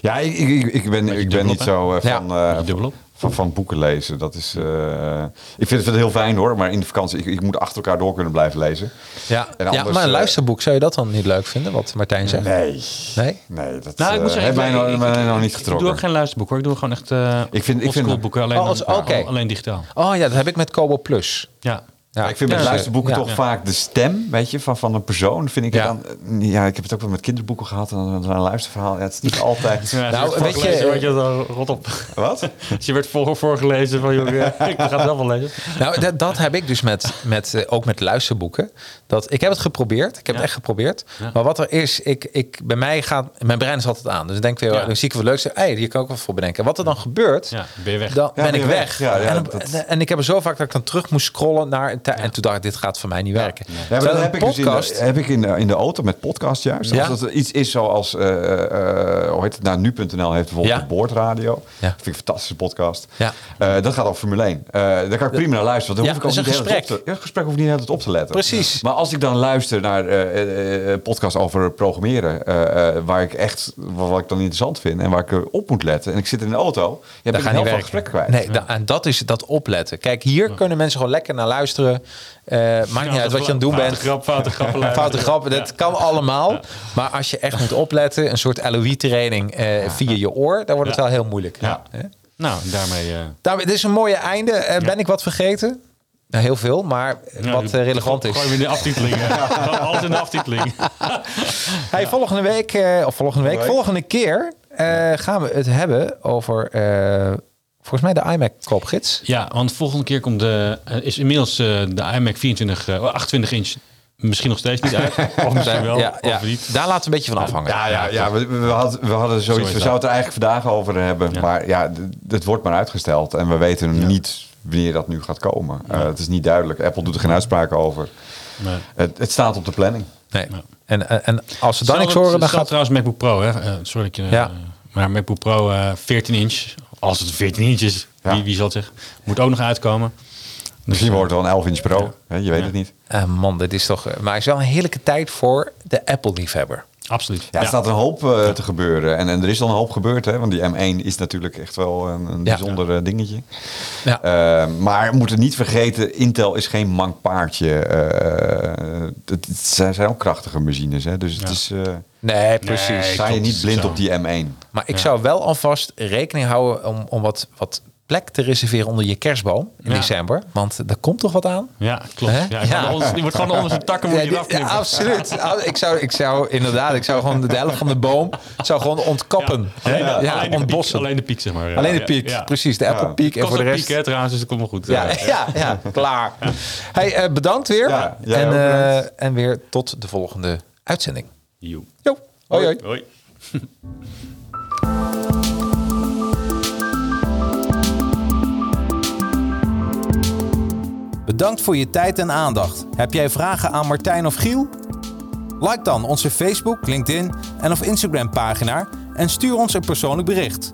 ja ik, ik, ik- ik ben, ik ben dubbel niet op, zo eh, Ja. van, eh, Beetje dubbel op. van, van boeken lezen. Dat is, eh, ik vind het heel fijn hoor, maar in de vakantie, ik, ik moet achter elkaar door kunnen blijven lezen. Ja, En anders, ja maar een eh, luisterboek, zou je dat dan niet leuk vinden, wat Martijn zegt? Nee, Nee? nee dat Nou, ik moet eh, zeggen, heeft mij ik- nog, ik- mij ik- nog niet ik- Ik doe getrokken. ook geen luisterboek hoor. Ik doe gewoon echt eh Ik vind- ik oldschool vind- boeken. Alleen, Oh, als- dan- oké. alleen digitaal. Oh ja, dat heb ik met Kobo Plus. Ja. Ja, ik vind bij dus, eh, luisterboeken ja. toch vaak de stem, weet je, van, van een persoon. Vind ik Ja. dan, ja, ik heb het ook wel met kinderboeken gehad en dan dan een luisterverhaal. Ja, het is niet altijd. Nou, weet je, voorgelezen eh, word je dan rot op. Wat? Als je werd voor, voorgelezen van, joh, ja, ik ga het zelf wel lezen. Nou, dat, dat heb ik dus met, met, eh, ook met luisterboeken. Dat, ik heb het geprobeerd. Ik heb het echt geprobeerd. Maar wat er is, ik, ik, bij mij gaat... Mijn brein is altijd aan. Dus ik denk weer, Ja. dan zie ik wat leuks. Hey, hier kan ik wat voor bedenken. Wat er dan gebeurt, Ja, ben je weg. dan Ja, ben ben ik je weg. weg. Ja, ja, en, dat- en- en ik heb er zo vaak dat ik dan terug moest scrollen naar... een tijd. En toen dacht ik, dit gaat voor mij niet werken. Ja, maar Terwijl dat heb een ik dus in podcast- de, heb ik in de, in de auto met podcast juist. Ja. Als dat iets is zoals, eh eh, hoe heet het nou, nu.nl heeft bijvoorbeeld Ja. de Boordradio. Ja. Dat vind ik een fantastische podcast. Ja. Eh, dat gaat over Formule 1. Eh, daar kan ik prima naar luisteren. want Dan Ja, hoef ik ook dat is niet een de hele tijd gesprek. Op te, ja, een gesprek hoef ik niet de hele tijd op te letten. Precies. Ja. Maar als ik dan luister naar eh, eh, eh, podcast over programmeren, eh, eh, waar ik echt, wat, wat ik dan interessant vind en waar ik eh, op moet letten. En ik zit in de auto, ja, ben Dat gaat ik een niet heel veel werken. gesprekken kwijt. Nee, da- en dat is dat opletten. Kijk, hier kunnen mensen gewoon lekker naar luisteren. Eh, maakt niet uit wat je aan het doen Foute bent. Grap, foute grappen. Foute luisteren. grappen, dat kan allemaal. Maar als je echt moet opletten, een soort LOE-training eh, via je oor, dan wordt het Ja. wel heel moeilijk. Ja. Hè? Nou, daarmee... eh Nou, dit is een mooie einde. Eh, Ben ik wat vergeten? Nou, heel veel, maar wat eh, relevant is. Gewoon weer in de aftiteling. hè. Gewoon Alles in de aftiteling. Hey, volgende week, eh, of volgende week, Volgende week. volgende keer eh, gaan we het hebben over, eh, volgens mij, de iMac koopgids. Ja, want volgende keer komt de, eh, is inmiddels eh, de iMac 24, eh, 28 inch misschien nog steeds niet uit. Of misschien wel, Eh, ja, ja. of niet. Daar laten we een beetje van afhangen. Ja, ja, ja we, we, hadden, we hadden is zoiets. we dat. zouden het er eigenlijk vandaag over hebben. Maar ja, d- het wordt maar uitgesteld. En we weten niet wanneer dat nu gaat komen. Eh, het is niet duidelijk. Apple doet er geen uitspraken over. Nee. Het, het staat op de planning. Nee. En, eh, en, en als ze dan niks horen, Hetzelfde- dan hetzelfde gaat trouwens MacBook Pro, hè? Eh, sorry dat ik je... Ja. eh, maar MacBook Pro eh, 14 inch, als het 14 inch is, Ja. wie, wie zal het zeggen, moet ook nog uitkomen. Dus, eh, Misschien wordt het wel een 11 inch pro. Hè, Je weet het niet. Eh, man, dit is toch. Maar het is wel een heerlijke tijd voor de Apple-liefhebber. Absoluut. Ja, er staat een hoop eh, te gebeuren. En, en er is al een hoop gebeurd. Hè? Want die M1 is natuurlijk echt wel een, een bijzonder eh, dingetje. Ja. Eh, maar we moeten niet vergeten, Intel is geen mank paardje. Eh, het, het zijn zijn ook krachtige machines. Hè? Dus het is... eh, nee, precies. Nee, Sta je klopt. niet blind Zo. op die M1. Maar ik zou wel alvast rekening houden om, om wat, wat plek te reserveren onder je kerstboom in Ja. december. Want daar komt toch wat aan? Ja, klopt. Hè? Ja, je Ja. wordt onder- je wordt gewoon onder zijn takken moet Ja, je dit- eraf knippen. ja, absoluut. Ah, Ik zou, ik zou inderdaad, ik zou gewoon de helft van de boom zou gewoon ontkappen. Ja, Alleen, de- alleen de piek, ontbossen. alleen de piek, zeg maar. Ja, Alleen de ja, piek, ja. precies. De Apple piek. En Kost voor de een rest. piek, hè, trouwens, dus dat komt wel goed. ja, Eh, ja, ja, klaar. Hey, eh, bedankt weer. Ja, jij en, ook eh, bedankt. en weer tot de volgende uitzending. joe. Jo, hoi hoi. Hoi. Bedankt voor je tijd en aandacht. Heb jij vragen aan Martijn of Giel? Like dan onze Facebook, LinkedIn en of Instagram pagina en stuur ons een persoonlijk bericht.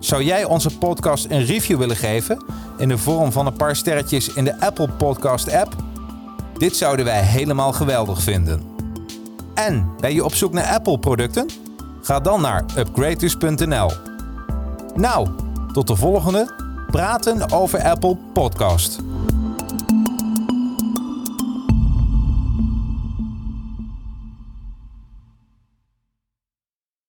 Zou jij onze podcast een review willen geven in de vorm van een paar sterretjes in de Apple Podcast app? Dit zouden wij helemaal geweldig vinden. En ben je op zoek naar Apple producten? Ga dan naar upgraders.nl. Nou, tot de volgende Praten over Apple podcast.